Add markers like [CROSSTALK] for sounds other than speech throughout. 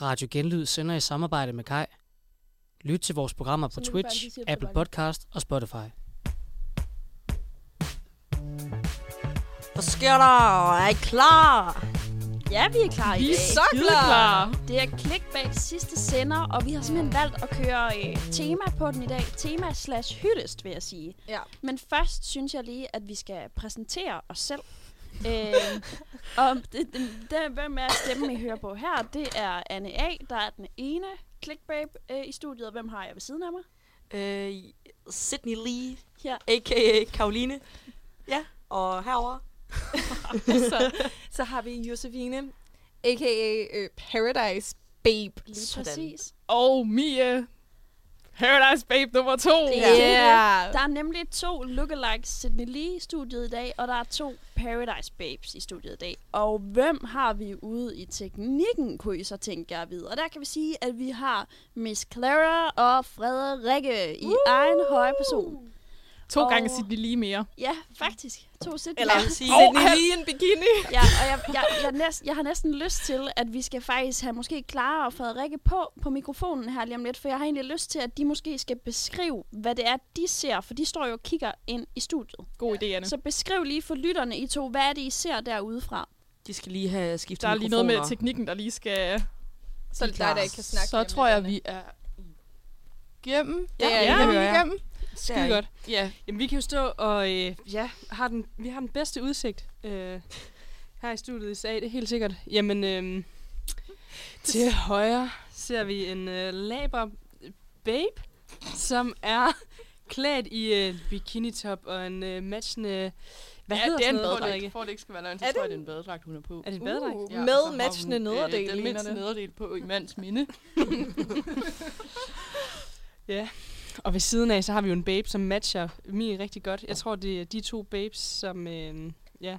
Radio Genlyd sender i samarbejde med Kai. Lyt til vores programmer på Så nu er det bare, de Twitch, siger på Apple bakken. Podcast og Spotify. Hvad sker der? Er I klar? Ja, vi er klar i Vi dag. er så klar! Det er clickbait sidste sender, og vi har simpelthen valgt at køre øh, tema på den i dag. Tema slash hyldest, vil jeg sige. Ja. Men først synes jeg lige, at vi skal præsentere os [LAUGHS] selv. øh, og det, det, det, hvem er stemmen, I hører på her? Det er Anne A., der er den ene clickbait øh, i studiet. Og hvem har jeg ved siden af mig? Øh, Sydney Lee, Ja. a.k.a. Karoline. Ja, og herover. så, så har vi Josefine, a.k.a. øh, Paradise Babe. Lige Sådan. præcis. Og Mia, Paradise Babe nummer to. Ja. Yeah. Der er nemlig to lookalikes Sydney Lee i studiet i dag, og der er to Paradise Babes i studiet i dag. Og hvem har vi ude i teknikken, kunne I så tænke jer at vide? Og der kan vi sige, at vi har Miss Clara og Frederikke i uh! egen høje person. To Og- og... gange Sydney lige mere. Ja, faktisk. To Sydney. Eller jeg vil sige, Og Sydney Lee i en bikini. Ja, og jeg, jeg, jeg, næst, jeg har næsten lyst til, at vi skal faktisk have måske Clara og Frederikke på på mikrofonen her lige om lidt, for jeg har egentlig lyst til, at de måske skal beskrive, hvad det er, de ser, for de står jo og kigger ind i studiet. God idé, Anne. Så beskriv lige for lytterne, I to, hvad er det, I ser derude fra? de skal lige have skiftet Der er lige noget med teknikken, der lige skal... Så er er klar. der, der ikke kan snakke Så tror jeg, vi er igennem. Ja, ja, det ja, hører jeg. igennem. er Skide I. godt. Ja, Jamen, vi kan jo stå og øh, ja, har den, vi har den bedste udsigt øh, her i studiet i sag, det er helt sikkert. Jamen, øh, til højre ser vi en øh, laber babe, som er klædt i øh, bikinitop og en øh, matchende... Hvad ja, hedder det er sådan en noget, badedragt. Rikke? For at det ikke skal være løgn, så Er tror det jeg, det er en badedragt, hun er på. Er det en badedragt? Uh, og med så har hun, matchende øh, nederdel, Den ligner mindste det. nederdel på i mands minde. Og ved siden af, så har vi jo en babe, som matcher min rigtig godt. Jeg tror, det er de to babes, som... Øh, ja,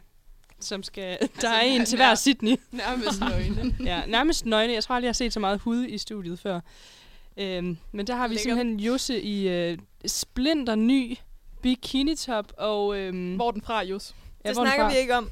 som skal... [LAUGHS] der er en til hver nær- Sydney. Nærmest nøgne. [LAUGHS] Ja, nærmest nøgne. Jeg tror aldrig, jeg har set så meget hud i studiet før. Øhm, men der har vi Lækkert. simpelthen Josse i øh, splinter ny bikinitop og... Øhm, hvor er den fra, Jus? ja, Det hvor er den snakker fra? vi [LAUGHS] ikke om.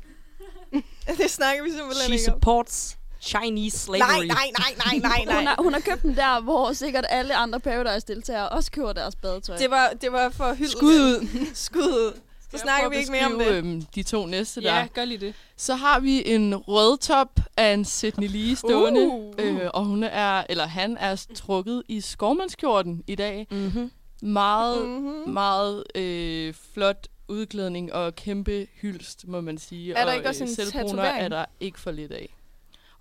det snakker vi simpelthen She ikke om. supports Chinese Nej, slavery. nej, nej, nej, nej, nej. Hun har, hun har købt den der, hvor sikkert alle andre Paradise-deltagere også køber deres badetøj. Det var, det var for hyldet. Skud ud. [LAUGHS] Skud ud. Så snakker vi ikke mere om det. Øhm, de to næste der. Ja, gør lige det. Så har vi en rød top af en Sydney Lee stående. Uh, Øh, og hun er, eller han er trukket i skovmandskjorten i dag. Mm-hmm. Meget, Mm-hmm. meget øh, flot udklædning og kæmpe hylst, må man sige. Er der og, ikke også en selvbruner tatovering? er der ikke for lidt af.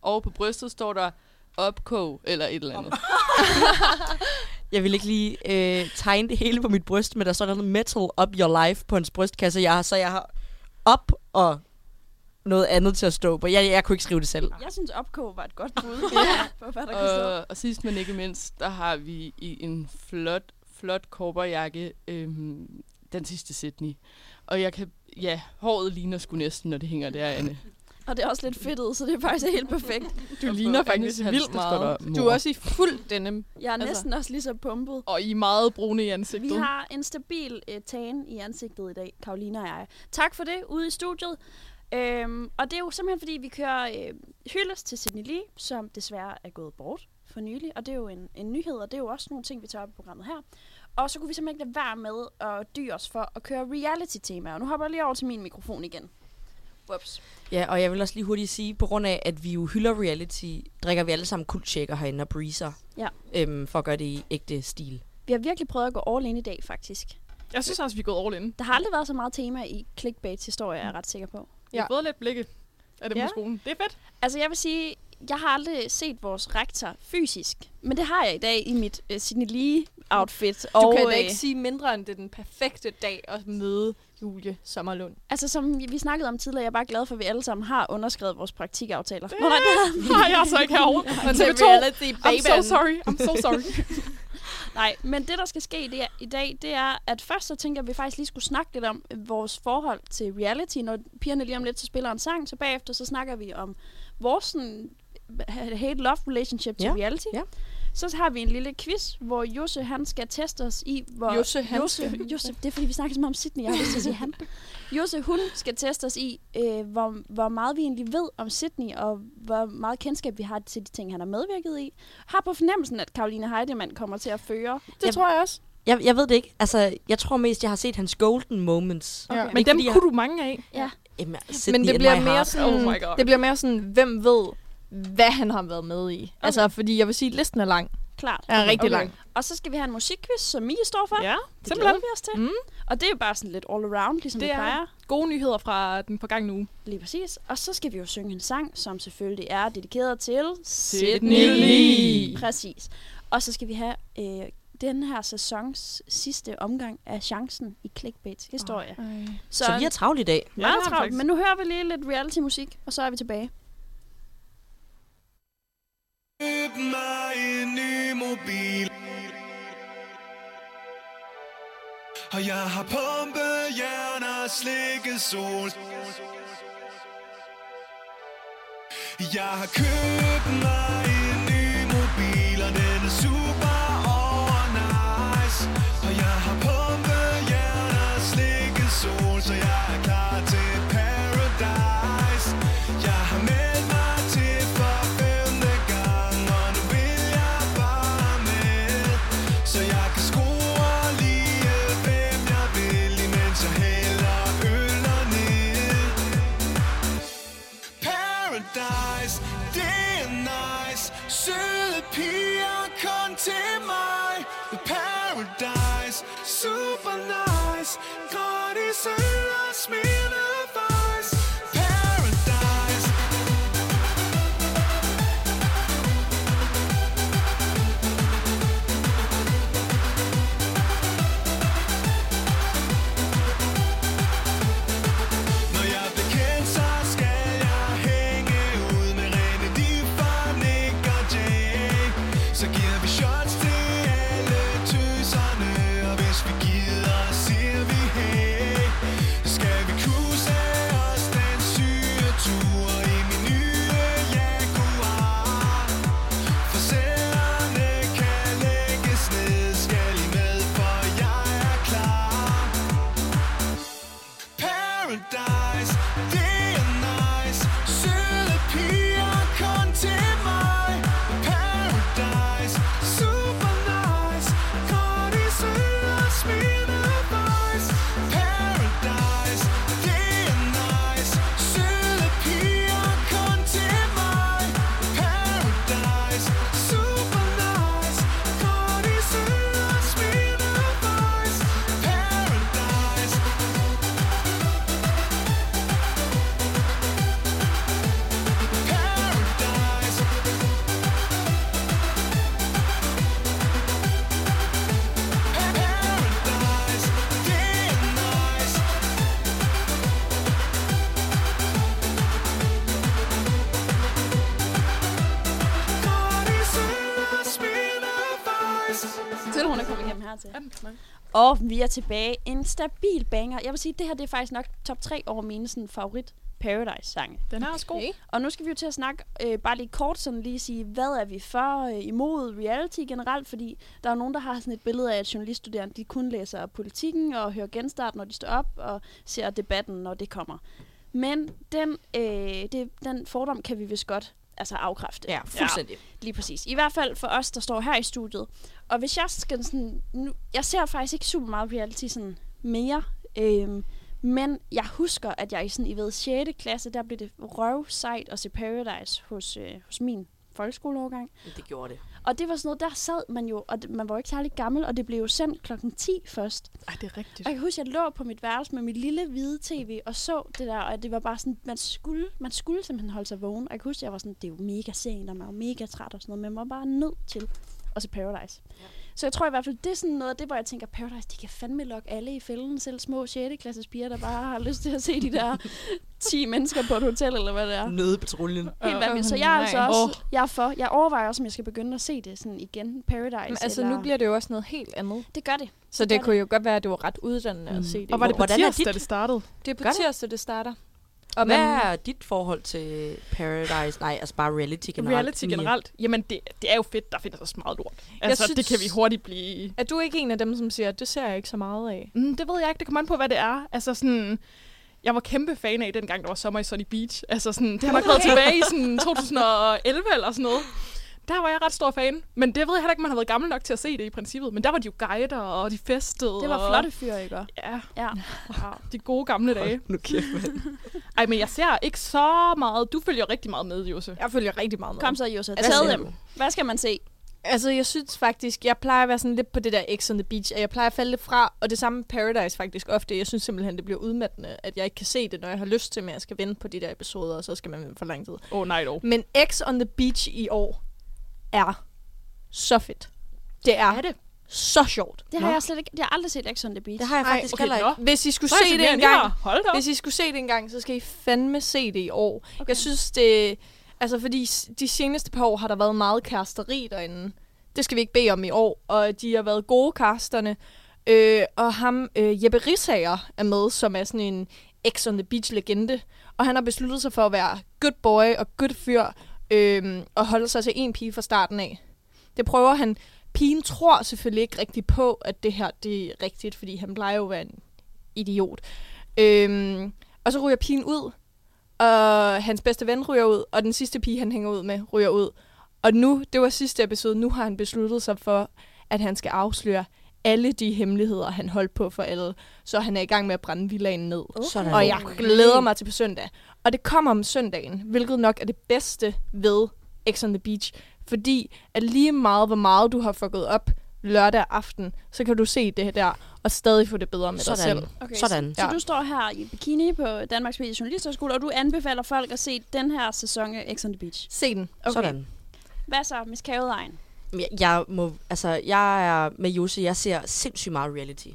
Og på brystet står der opkog eller et eller andet. Jeg vil ikke lige øh, tegne det hele på mit bryst, men der står noget metal up your life på hans brystkasse. Jeg har, så jeg har op og noget andet til at stå på. Jeg, jeg kunne ikke skrive det selv. Jeg synes, opkog var et godt bud ja. på, hvad der kan stå. Og, og sidst men ikke mindst, der har vi i en flot, flot korberjakke øhm, den sidste Sydney. Og jeg kan, ja, håret ligner sgu næsten, når det hænger derinde. Og det er også lidt fedtet, så det er faktisk helt perfekt. Du Og på ligner Annes faktisk hals, vildt der står meget. der, Du "Mor". er også i fuld denim. Jeg er Altså. næsten også lige så pumpet. Og I er meget brune i ansigtet. Vi har en stabil uh, tan i ansigtet i dag, Karoline og jeg. Tak for det ude i studiet. Øhm, og det er jo simpelthen, fordi vi kører øh, hyldest til Sydney Lee, som desværre er gået bort for nylig. Og det er jo en, en nyhed, og det er jo også nogle ting, vi tager op i programmet her. Og så kunne vi simpelthen ikke lade være med at dy os for at køre reality-temaer. Og nu hopper jeg lige over til min mikrofon igen. Whoops. Ja, og jeg vil også lige hurtigt sige, på grund af, at vi jo hylder reality, drikker vi alle sammen kuldshaker herinde og breezer. Ja. Øhm, for at gøre det i ægte stil. Vi har virkelig prøvet at gå all in i dag, faktisk. Jeg synes også, vi er gået all in. Mm. Der har aldrig været så meget tema i clickbait-historier, er jeg ret sikker på. Vi har fået lidt blikke af dem Ja. på skolen. Det er fedt. Altså, jeg vil sige, jeg har aldrig set vores rektor fysisk, men det har jeg i dag i mit øh, Sydney Lee-outfit. Du og, kan da øh, ikke sige mindre, end det er den perfekte dag at møde Julie Sommerlund. Altså, som vi vi snakkede om tidligere, jeg er bare glad for, at vi alle sammen har underskrevet vores praktikaftaler. Det Nå, [LAUGHS] nej, det- har jeg så ikke herovre. [LAUGHS] Og TV2, reality I'm so sorry, I'm so [LAUGHS] sorry. nej, men det, der skal ske det er, i dag, det er, at først så tænker jeg, at vi faktisk lige skulle snakke lidt om øh, vores forhold til reality. Når pigerne lige om lidt så spiller en sang, så bagefter så snakker vi om vores sådan, hate-love relationship til Ja, reality. ja. Så har vi en lille quiz, hvor Josse han skal teste os i, hvor... Josse, han Josse, skal- Josse, det er fordi, vi snakker så meget om Sydney, jeg har lyst til at [LAUGHS] sige han. Josse, hun skal teste os i, øh, hvor, hvor meget vi egentlig ved om Sydney, og hvor meget kendskab vi har til de ting, han har medvirket i. Har på fornemmelsen, at Karoline Heidemann kommer til at føre. Det Jeg- tror jeg også. Jeg, jeg ved det ikke. Altså, jeg tror mest, jeg har set hans golden moments. Ja. Okay. Men Men dem fordi jeg- kunne du mange af. Jamen, Men det bliver, mere sådan, Oh my God. det bliver mere sådan, hvem ved, hvad han har været med i. Okay. Altså, fordi jeg vil sige, at listen er lang. Klart. Den er rigtig Okay. okay. lang. Og så skal vi have en musikquiz, som Mie står for. Ja, det simpelthen. glæder vi os til. Mm. Og det er jo bare sådan lidt all around, ligesom det, Det det er- plejer. Gode nyheder fra den forgangne uge. Lige præcis. Og så skal vi jo synge en sang, som selvfølgelig er dedikeret til... Sydney Lee. Præcis. Og så skal vi have øh, den her sæsons sidste omgang af chancen i clickbait historie. Så, så vi har travlt i dag. Ja, meget det har vi travlt, faktisk. men nu hører vi lige lidt reality-musik, og så er vi tilbage. Køb mig en ny mobil Og jeg har pumpet jern og slikket sol Jeg har købt mig en ny mobil Og den er super over nice Og jeg har pumpet jern og slikket sol Så jeg er klar til paradise Jeg har meldt mig til for femte gang Og nu vil jeg bare med Så jeg kan score lige hvem jeg vil Imens jeg hælder øl og ned Paradise, det er nice Søde piger, kom til mig Paradise, super nice Gratis øl og smidt advice Paradise Når jeg bliver kendt, så skal jeg hænge ud med Rene Differ, Nick og Jay. Så giver vi shots til alle tøserne, og hvis vi gider, siger vi hey. Så skal vi cruise os den syge tur i min nye Jaguar. For sæderne kan lægges ned, skal I med, for jeg er klar. Paradise, det er nice Søde piger, kom til mig Paradise, super nice Gratis øl og smil advice Paradise, det er nice Søde piger, kom til mig Paradise, super nice Gratis øl og smil advice Paradise Paradise. Paradise, yeah, nice. God is in us, be advice. Til hun er kommet igennem hertil. Og vi er tilbage. En stabil banger. Jeg vil sige, at det her det er faktisk nok top 3 over mine sådan, favorit Paradise-sange. Den er også god. Okay. Og nu skal vi jo til at snakke, øh, bare lige kort sådan lige sige, hvad er vi for, øh, imod reality generelt, fordi der er nogen, der har sådan et billede af, at journaliststuderende, de kun læser politikken og hører genstart, når de står op, og ser debatten, når det kommer. Men den, øh, det, den fordom kan vi vist godt altså afkræfte. Ja, fuldstændig. Lige præcis. I hvert fald for os, der står her i studiet. Og hvis jeg skal sådan... Nu, jeg ser faktisk ikke super meget reality sådan mere. Øhm, men jeg husker, at jeg i sådan, I ved, 6. klasse, der blev det røvsejt at se Paradise hos, øh, hos min folkeskoleårgang. Ja. Det gjorde det. Og det var sådan noget, der sad man jo, og det- man var jo ikke særlig gammel, og det blev jo sendt klokken 10 først. Ej, det er rigtigt. Og jeg kan huske, at jeg lå på mit værelse med mit lille hvide tv og så det der, og det var bare sådan, man skulle, man skulle simpelthen holde sig vågen. Og jeg kan huske, at jeg var sådan, det er jo mega sent, og man er jo mega træt og sådan noget, men man var bare nødt til at se Paradise. Ja. Så jeg tror i hvert fald, det er sådan noget af det, hvor jeg tænker, Paradise, de kan fandme lokke alle i fælden, selv små 6. klasses piger, der bare har lyst til at se de [LAUGHS] der 10 mennesker på et hotel, eller hvad det er. Nødepatruljen. Helt Ah, vanvittigt. Så jeg er altså Nej. også, jeg er for, jeg overvejer også, om jeg skal begynde at se det sådan igen, Paradise. Men altså, eller... nu bliver det jo også noget helt andet. Det gør det. Så det kunne jo godt være, at det var ret uddannende mm. at se det. Og var det på Hvordan er tirsdag, dit- det startede? det er på Gør det? tirsdag, det starter. Og Hvad man- er dit forhold til Paradise? Nej, altså bare reality generelt. Reality Mia. generelt. Jamen, det, det er jo fedt, der findes også meget lort. Altså, synes, det synes- kan vi hurtigt blive... Er du ikke en af dem, som siger, det ser jeg ikke så meget af? Mm, det ved jeg ikke, det kommer an på, hvad det er. Altså sådan... Jeg var kæmpe fan af, dengang der var sommer i Sunny Beach. Altså sådan, det har nok været tilbage i sådan 2011 eller sådan noget. Der var jeg ret stor fan. Men det ved jeg heller ikke, om man har været gammel nok til at se det i princippet. Men der var de jo guider, og de festede. Det var og- flotte fyre, ikke? Ja, Ja. de gode gamle dage. Nu kæft, mand. Ej, men jeg ser ikke så meget. Du følger rigtig meget med, Jose. Jeg følger rigtig meget med. Kom så, Jose. Altså, Tag dem. Hvad skal man se? Altså, jeg synes faktisk, jeg plejer at være sådan lidt på det der X on the Beach, at jeg plejer at falde lidt fra, og det samme med Paradise faktisk ofte. Jeg synes simpelthen, det bliver udmattende, at jeg ikke kan se det, når jeg har lyst til, men jeg skal vente på de der episoder, og så skal man vente for lang tid. Åh, oh, nej dog. Men X on the Beach i år er så fedt. Det er, er det? så sjovt. Det har jeg slet ikke... Jeg har aldrig set X on the Beach. Det har jeg Ej, faktisk okay, heller ikke. nå. Hvis I skulle Så er jeg se mere det end en her. gang, Hold da op. Hvis I skulle se det engang, så skal I fandme se det i år. Okay. Jeg synes, det... Altså, fordi s- de seneste par år har der været meget kæresteri derinde. Det skal vi ikke bede om i år. Og de har været gode kæresterne. Øh, og ham, øh, Jeppe Rissager, er med, som er sådan en ex on the beach-legende. Og han har besluttet sig for at være good boy og good fyr. Øh, og holde sig til en pige fra starten af. Det prøver han. Pigen tror selvfølgelig ikke rigtigt på, at det her det er rigtigt, fordi han plejer jo at være en idiot. Øhm, og så ryger pigen ud, og hans bedste ven ryger ud, og den sidste pige, han hænger ud med, ryger ud. Og nu, det var sidste episode, nu har han besluttet sig for, at han skal afsløre alle de hemmeligheder, han holdt på for alle. Så han er i gang med at brænde villaen ned. Sådan. Og jeg glæder mig til på søndag. Og det kommer om søndagen, hvilket nok er det bedste ved X on the Beach. Fordi at lige meget, hvor meget du har fucket op lørdag aften, så kan du se det her der, og stadig få det bedre med dig Sådan. selv. Okay, Sådan. Så, så Ja. du står her i bikini på Danmarks Medie Journalisterskole, og du anbefaler folk at se den her sæson af X on the Beach. Se den. Okay. Sådan. Hvad så, Miss Kavedejen? Jamen, Jeg, jeg, må, altså, jeg er med Jose, jeg ser sindssygt meget reality.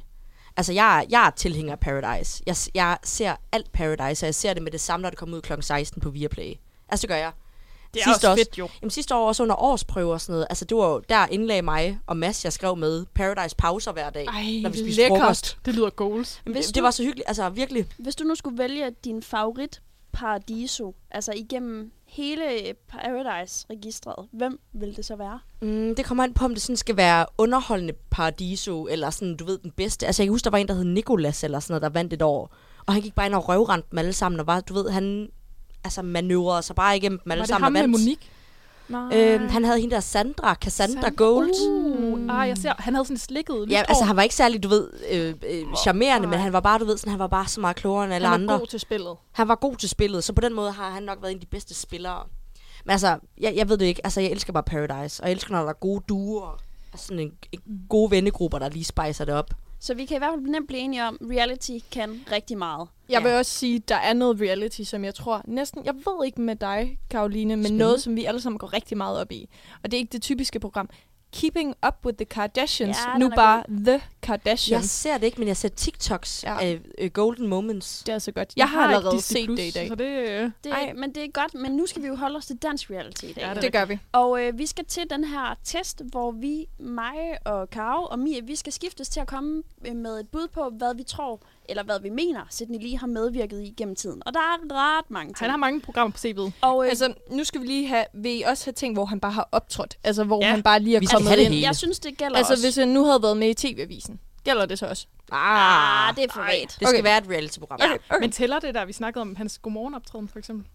Altså, jeg, er- jeg er tilhænger af Paradise. Jeg, s- jeg ser alt Paradise, og jeg ser det med det samme, når det kommer ud kl. 16 på Viaplay. Altså, det gør jeg. Det er Sidste også også. fedt, jo. Jamen, sidste år også under årsprøver og sådan noget. Altså, det var jo, der indlagde mig og Mads, jeg skrev med Paradise pauser hver dag, Ej, når vi spiste lækkert. frokost. Det lyder goals. Jamen, det, det var så hyggeligt. Altså, virkelig. Hvis du nu skulle vælge din favorit paradiso, altså igennem hele Paradise-registret, hvem vil det så være? Mm, det kommer an på, om det sådan skal være underholdende paradiso, eller sådan, du ved, den bedste. Altså, jeg kan huske, der var en, der hed Nikolas, eller sådan noget, der vandt et år. Og han gik bare ind og røvrendte dem alle sammen, og var, du ved, han altså, manøvrerede sig bare igennem dem alle Var det sammen, ham og med vandt. Monique? øhm, han havde hende der Sandra, Cassandra Sand- Gold. Uh, ah, jeg ser, han havde sådan et slikket Ja, lyst altså hår. han var ikke særlig, du ved, øh, øh, charmerende, men han var bare, du ved, sådan, han var bare så meget klogere end alle Han andre. er god til spillet. Han var god til spillet, så på den måde har han nok været en af de bedste spillere. Men altså, jeg, jeg ved det ikke. Altså, jeg elsker bare Paradise, og jeg elsker, når der er gode duer. Og sådan en, en gode vennegrupper, der lige spejser det op. Så vi kan i hvert fald nemt blive enige om, reality kan rigtig meget. Jeg vil Ja. også sige, der er noget reality, som jeg tror næsten, jeg ved ikke med dig, Karoline, men Spændende. Spindende. noget, som vi alle sammen går rigtig meget op i. Og det er ikke det typiske program. Keeping Up with the Kardashians, Ja, den nu er bare The Jeg Kardashians. ser det ikke, men jeg ser TikToks Ja. af øh, Golden Moments. Det er så godt. Jeg, har ikke allerede Disney set Plus, det i dag. Så det, øh, Det, Ej. men det er godt, men nu skal vi jo holde os til dansk reality i dag. Ja, Ja, det er Det gør vi. og øh, vi skal til den her test, hvor vi, mig og Karo og Mia, vi skal skiftes til at komme øh, med et bud på, hvad vi tror, eller hvad vi mener, Sydney lige har medvirket i gennem tiden. Og der er ret mange han ting. har mange programmer på CV'et. Og, øh, Altså, nu skal vi lige have, vil I også have ting, hvor han bare har optrådt? Altså, hvor Ja. ja. han bare lige er Vi skal kommet have det ind? hele. jeg synes, det gælder Altså, også. hvis han nu havde været med i TV-avisen, gælder det så også? Ah, det er forrædt. Det skal Okay. være et reality-program. Ja. Okay. Men tæller det der, vi snakkede om, hans godmorgenoptræden for eksempel?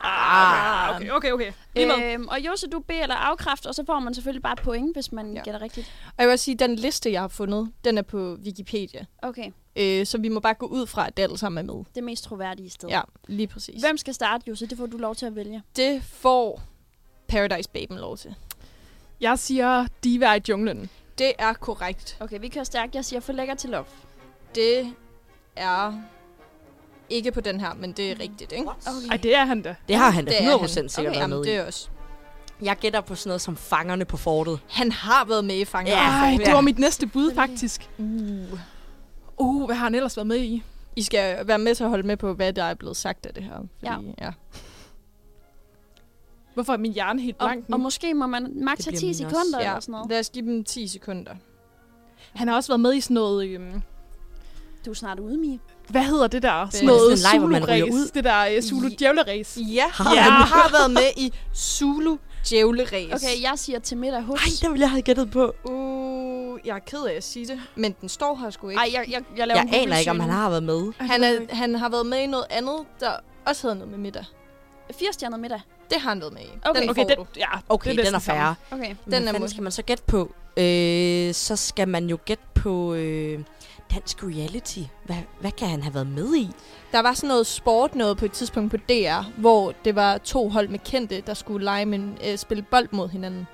Ah, Okay, okay, okay. Lige med. Øhm, og Jose, du beder eller afkræft, og så får man selvfølgelig bare et point, hvis man ja. Ja. gætter rigtigt. Og jeg vil også sige, at den liste, jeg har fundet, den er på Wikipedia. Okay, Øh, så vi må bare gå ud fra, at det alle sammen er med. det mest troværdige sted. Ja, lige præcis. Hvem skal starte, Jose? Det får du lov til at vælge. Det får Paradise Baben lov til. Jeg siger, de er Ah, i junglen. Det er korrekt. Okay, vi kører stærkt. Jeg siger for lækker til love. Det er ikke på den her, men det Mm. er rigtigt, ikke? Ej, det er han da. Det har han da Det er 100% han. sikkert okay, været okay, jamen, med det i. er også. Jeg gætter på sådan noget som Fangerne på Fortet. Han har været med i Fanger. Ja. Ej, det Ja. var mit næste bud, faktisk. Uh. Uh, hvad har han ellers været med i? I skal være med til at holde med på, hvad der er blevet sagt af det her. Fordi, ja. Hvorfor er min hjerne helt Og, blank nu? og måske må man maks Det have bliver 10 min også. sekunder ja. eller sådan noget. Lad os give dem 10 sekunder. Han har også været med i sådan noget... Øhm, Du er snart ude, Mie. Hvad hedder det der? sådan Sådan en noget leg, hvor man ryger Zulu-race. ud. Det der øh, Zulu Djævlerace. Ja, Ja. ja. han har været med i Zulu Djævleræs. Okay, jeg siger til middag hos... Ej, der ville jeg have gættet på. Uh, jeg er ked af at sige det, men den står her sgu ikke. Ej, jeg, jeg, jeg laver Jeg en aner ikke, om han Google-søgning. har været med. Han, er, han har været med i noget andet, der også havde noget med middag. 4-stjernet middag. Det har han været med i. Okay. den Okay, får den, du. ja, Okay, det er den er næsten samme. færre. Okay. Den Hvad er fanden måske- skal man så gætte på? Øh, så skal man jo gætte på øh, dansk reality. Hvad, hvad kan han have været med i? Der var sådan noget sport noget på et tidspunkt på DR, hvor det var to hold med kendte, der skulle lege med, øh, spille bold mod [GASPS] hinanden.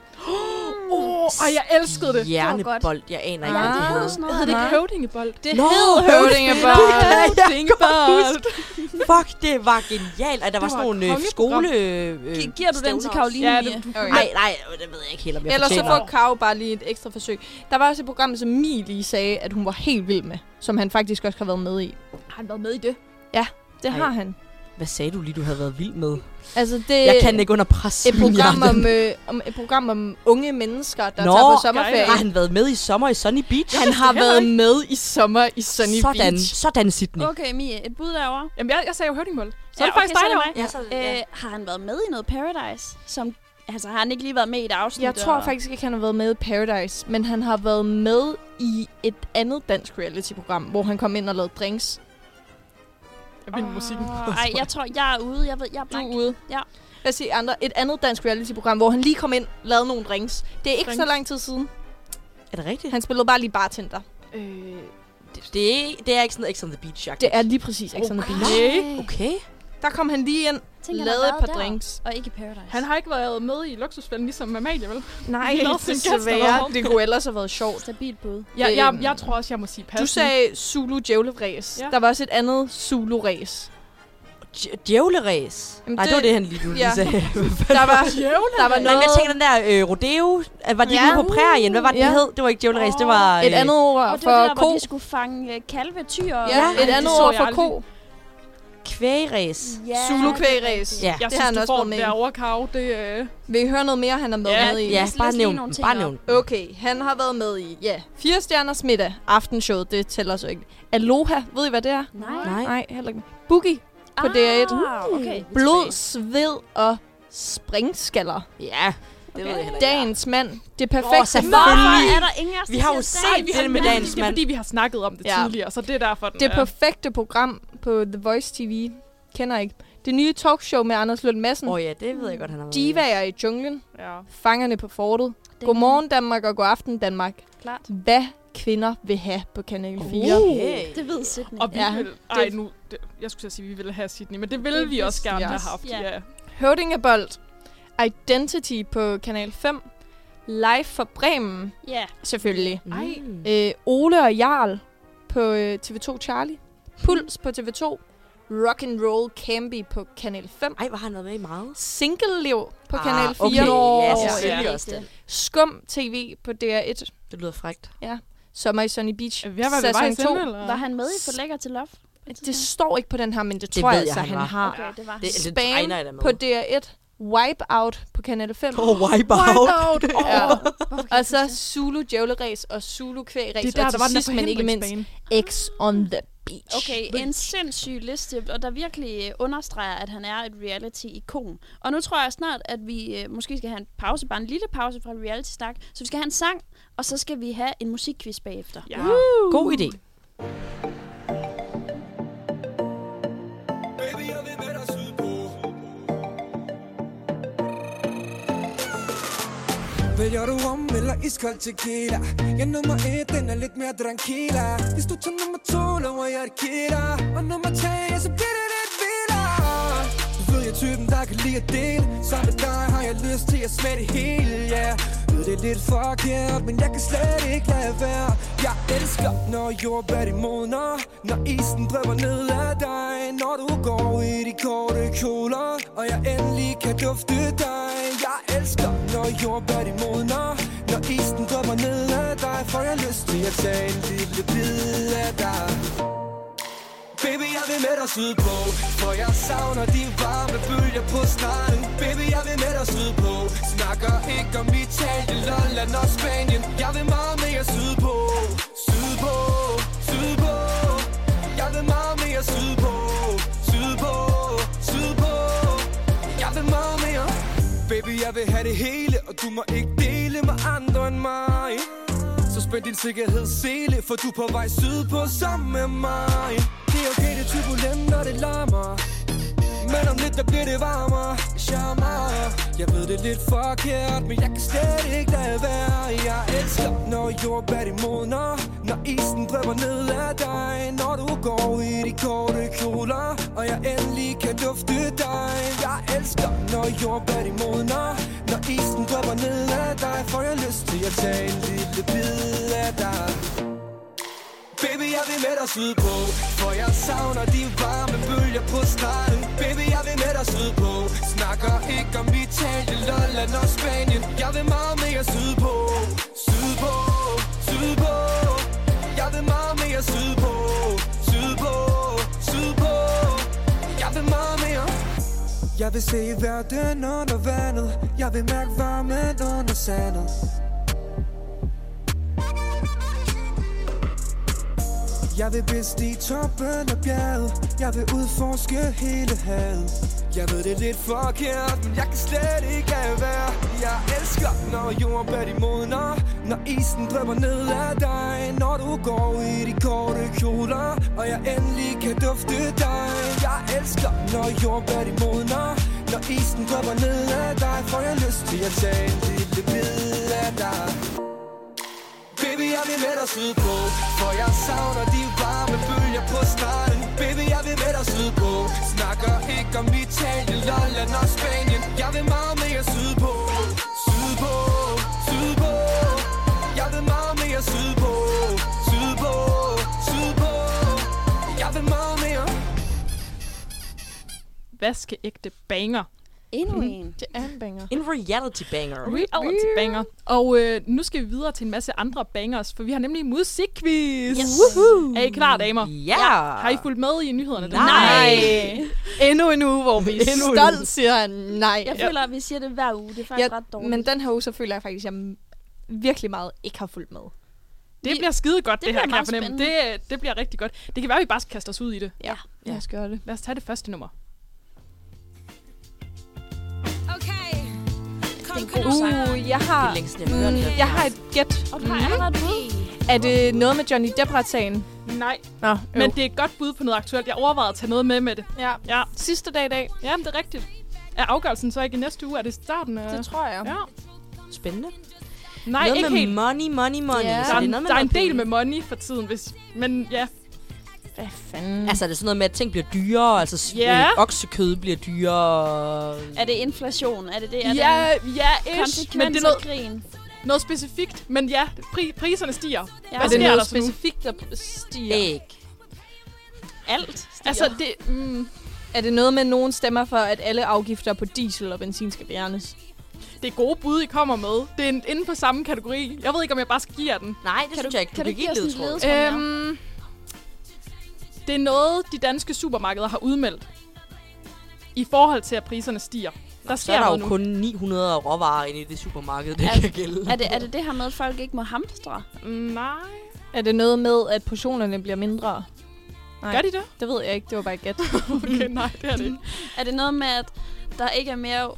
Åh, ej, jeg elskede det. Hjernebold. Jeg aner ikke, hvad det Ah. hedder. Sådan noget. Hed det ikke Nej. høvdingebold? Det Nå, hed høvdingebold. høvdingebold. Det kan jeg godt Høvdingebold. huske. Fuck, det var genialt. Og der var, Det sådan var et nogle øh, kongeprogram. skole... Øh, Gi- giver du den til Karoline? Ja, Mie? det, du, Okay. Nej, nej, det ved jeg ikke helt, om jeg Ellers så fortjener. får Kau bare lige et ekstra forsøg. Der var også et program, som Mie lige sagde, at hun var helt vild med, som han faktisk også har været med i. Har han været med i det? Det Ej. har han. Hvad sagde du lige, du havde været vild med? Altså, det Jeg kan ikke under pres. et program, Mia. om, øh, om, et program om unge mennesker, der Nå, tager på Har sommerferie. han været med i sommer i Sunny Beach? Han har været med i sommer i Sunny sådan, Beach. Sådan, Sydney. Okay, Mie, et bud derovre. jamen, jeg, jeg sagde jo høvdingebold. Så Ja, er det faktisk okay, så dig, er det der mig. Ja, så, Øh, har han været med i noget Paradise? Som, altså, har han ikke lige været med i et afsnit? Jeg tror og- faktisk ikke, han har været med i Paradise, men han har været med i et andet dansk reality-program, hvor han kom ind og lavede drinks. Ah, Jeg vil med musikken. [LAUGHS] Åh, Ej, jeg tror, jeg er ude. Jeg ved, jeg er Du er blank. ude. Ja. Hvad siger andre? Et andet dansk reality-program, hvor han lige kom ind og lavede nogle drinks. Det er ikke så Drinks. lang tid siden. Er det rigtigt? Han spillede bare lige bartender. Øh, Det er, det er ikke sådan noget X on the Beach, Det er lige præcis ikke sådan okay. noget. Okay. Der kom han lige ind, Tænk, han har lavede et været par der, drinks. Og ikke i Paradise. Han har ikke været med i luksusfælden, ligesom Amalie, vel? Nej, Nothing gets desværre. around. Det kunne ellers have været sjovt. Stabilt bud. Jeg, jeg, Øhm. jeg tror også, jeg må sige pas. Du sagde Zulu Djævleræs. Ja. Der var også et andet Zulu Ræs. Dj- Djævleræs. Jamen, Nej, det det- var det, han lige du lige Ja. sagde. Der var, der var Nå, men noget... jeg tænker, den der øh, rodeo, øh, var de Ja. ja. ude på prærien? Hvad var det, Ja. det hed? Det var ikke djævleræs, det var... øh, Et andet ord Og det var for det der, ko. hvor de skulle fange øh, kalve, tyr og... Ja, et det andet så ord jeg for aldrig. ko. Kvægeræs. Ja, Zulukvægræs. det er rigtigt. Ja. Jeg det synes, har han du også får været den med i. der overkav. Det, øh, Vil I høre noget mere, han har været Ja, med i? Ja, Læs- bare læs lige nævn nogle den, ting Bare op. nævn den. Okay, han har været med i, ja, Fire Stjerners Middag, Aftenshowet, det tæller så ikke. Aloha, ved I hvad det er? Nej. Nej. Nej, heller ikke. Boogie, på DR1. Ah, okay. Blod, Sved og Springskaller. Ja, det ved jeg heller ikke. Dagens mand, det Åh, perfekte selvfølgelig. Hvorfor er der ingen af os, Vi der har jo siger set Dan? det med dagens det er mand. fordi, vi har snakket om det Ja. tidligere, så det er derfor, den Det er... perfekte program på The Voice TV. Kender ikke. Det nye talkshow med Anders Lund Madsen. Åh oh, ja, det ved jeg godt, han har været med Divaer i junglen. Ja. Fangerne på fortet. Den- Godmorgen Danmark og god aften Danmark. Klart. Hvad kvinder vil have på Kanal 4. i. Det ved Sydney. Og vi Ja, ja, vil... Ej, nu... Det, jeg skulle til at sige, at vi ville have Sydney, men det ville Det det vi også vidste gerne vi have også, haft. ja. Ja. ja. Høvdingebold. Identity på Kanal 5. Live for Bremen, Ja. selvfølgelig. Ej. Mm. Øh, Ole og Jarl på øh, TV2 Charlie. Puls på TV2. Rock and Roll Campy på Kanal 5. Ej, hvor har han været med i meget? Single-liv på Ah, Kanal 4. okay. Ja, Og selvfølgelig Ja. også det. Skum TV på DR1. Det lyder frækt. Sommer i Sunny Beach. Er vi ved at være vejs ende, eller? Var han med i For Lækker til Love? Det står ikke på den her, men det, Det tror ved jeg jeg, altså, han han, var. har. Okay, det var Det, han. det Spam tegner jeg da med. På DR1. Wipeout på Kanal 5. Åh, oh, wipe out. [LAUGHS] [LAUGHS] Wipeout! ja. Hvorfor kan Og jeg så huske Zulu Djævleræs og Zulu Kvægræs. Det er der, og til der var den sidst, der men ikke mindst, forhindringsbane. X on the Beach. det? Okay, en sindssyg liste, og der virkelig øh, understreger, at han er et reality-ikon. Og nu tror jeg snart, at vi øh, måske skal have en pause, bare en lille pause fra reality-snak. Så vi skal have en sang, og så skal vi have en musikquiz bagefter. Ja. God idé. Baby, jeg vil med dig sydpå Vælger du rum eller iskold tequila? Ja, nummer et, den er lidt mere tranquila Hvis du tager nummer to, lover jeg et kira Og nummer tre, ja, så bliver det lidt vildere Du ved, jeg er typen, der kan lide at dele Sammen med dig har jeg lyst til at smage det hele, ja Ved det er lidt forkert, men jeg kan slet ikke lade være Jeg elsker, når jordbær de modner Når isen drøber ned af dig Når du går i de korte kjoler Og jeg endelig kan dufte dig Jeg elsker, når jordbær de modner Når isen drøber ned af dig Får jeg lyst til at tage en lille bid af dig Baby, jeg vil med dig sydpå For jeg savner de varme bølger på stranden Baby, jeg vil med dig sydpå Snakker ikke om Italien, Lolland og Spanien Jeg vil meget mere sydpå Sydpå, sydpå Jeg vil meget mere mere sydpå, sydpå, sydpå Jeg vil meget mere Baby, jeg vil have det hele, og du må ikke dele med andre end mig Så spænd din sikkerhed sele, for du er på vej sydpå sammen med mig Det er okay, det er turbulent, når det larmer men om lidt, der bliver det varmere Charmer Jeg ved det er lidt forkert Men jeg kan slet ikke lade være Jeg elsker, når jordbær de modner Når isen drøber ned af dig Når du går i de korte kjoler Og jeg endelig kan dufte dig Jeg elsker, når jordbær de modner Når isen drøber ned af dig Får jeg lyst til at tage en lille bid af dig Baby, jeg vil med dig sydpå For jeg savner de varme bølger på stranden Baby, jeg vil med dig sydpå Snakker ikke om Italien, Lolland og Spanien Jeg vil meget mere sydpå Sydpå, sydpå Jeg vil meget mere sydpå Sydpå, sydpå Jeg vil meget mere Jeg vil se verden under vandet Jeg vil mærke varmen under sandet Jeg vil bestige toppen af bjerget Jeg vil udforske hele havet Jeg ved det er lidt forkert, men jeg kan slet ikke lade være Jeg elsker, når jorden bør de modner Når isen drøber ned af dig Når du går i de korte kjoler Og jeg endelig kan dufte dig Jeg elsker, når jorden bør de modner Når isen drøber ned af dig Får jeg lyst til at tage en lille bid af dig Baby, jeg vil med dig sydpå For jeg savner de varme bølger på stranden Baby, jeg vil med dig sydpå Snakker ikke om Italien, Lolland og Spanien Jeg vil meget mere sydpå Sydpå, sydpå Jeg vil meget mere sydpå Sydpå, sydpå Jeg vil meget mere Vaskeægte banger. Endnu en. Det er en banger. Mhm. En reality banger. Reality banger. Og øh, nu skal vi videre til en masse andre bangers, for vi har nemlig musikquiz. Yes. Er I klar, damer? Ja. Har I fulgt med i nyhederne? Nej. Endnu en uge, hvor vi er Endnu en uge. stolt, siger han. Nej. Jeg føler, at vi siger det hver uge. Det er faktisk ret dårligt. men den her uge, så føler jeg faktisk, at jeg virkelig meget ikke har fulgt med. Det bliver skide godt, det, Det det her, bliver kan jeg meget fornemme. Det, det bliver rigtig godt. Det kan være, at vi bare skal kaste os ud i det. Ja, Ja. ja. jeg skal gøre det. Lad os tage det første nummer. Okay. Kom, kom, Uh, jeg har, Det er Mm, længst, jeg har hørt det. jeg har et gæt. Og du har allerede et bud. Er det noget med Johnny Depp-retssagen? Nej, Nå, men det er et godt bud på noget aktuelt. Jeg overvejede at tage noget med med det. ja. Ja, Sidste dag i dag, ja men det er rigtigt. Er afgørelsen så ikke i næste uge? Er det starten af... det tror jeg. Ja. Spændende. Nej, noget ikke med helt. money, money, money. Ja. Så Der er, det en, noget der er en noget del med penge. money for tiden, hvis... Men ja, Hvad fanden? Altså er det sådan noget med, at ting bliver dyrere, altså s- Ja. øh, oksekød bliver dyrere. Er det inflation? Er det det? Er ja, det ja, ish, men en det er konsekvens af noget, krigen? noget specifikt. Men ja, pri- priserne stiger. Ja. Hvad er det sker noget der så nu? specifikt, der stiger? Æg. Alt stiger. Altså, det, mm, Er det noget med, at nogen stemmer for, at alle afgifter på diesel og benzin skal fjernes? det er gode bud, I kommer med. Det er en, inde på samme kategori. Jeg ved ikke, om jeg bare skal give jer den. Nej, det kan synes du, jeg ikke. Du kan du kan give ikke os lide en tråd. ledetråd mere? Øhm, det er noget, de danske supermarkeder har udmeldt. I forhold til, at priserne stiger. Der Så sker er der noget jo nu. kun 900 råvarer inde i det supermarked, det Er- kan gælde. Er det, er det det her med, at folk ikke må hamstre? Nej. Er det noget med, at portionerne bliver mindre? Nej. Gør de det? Det ved jeg ikke, det var bare et gæt. [LAUGHS] Okay, nej, det er det ikke. Er det noget med, at der ikke er mere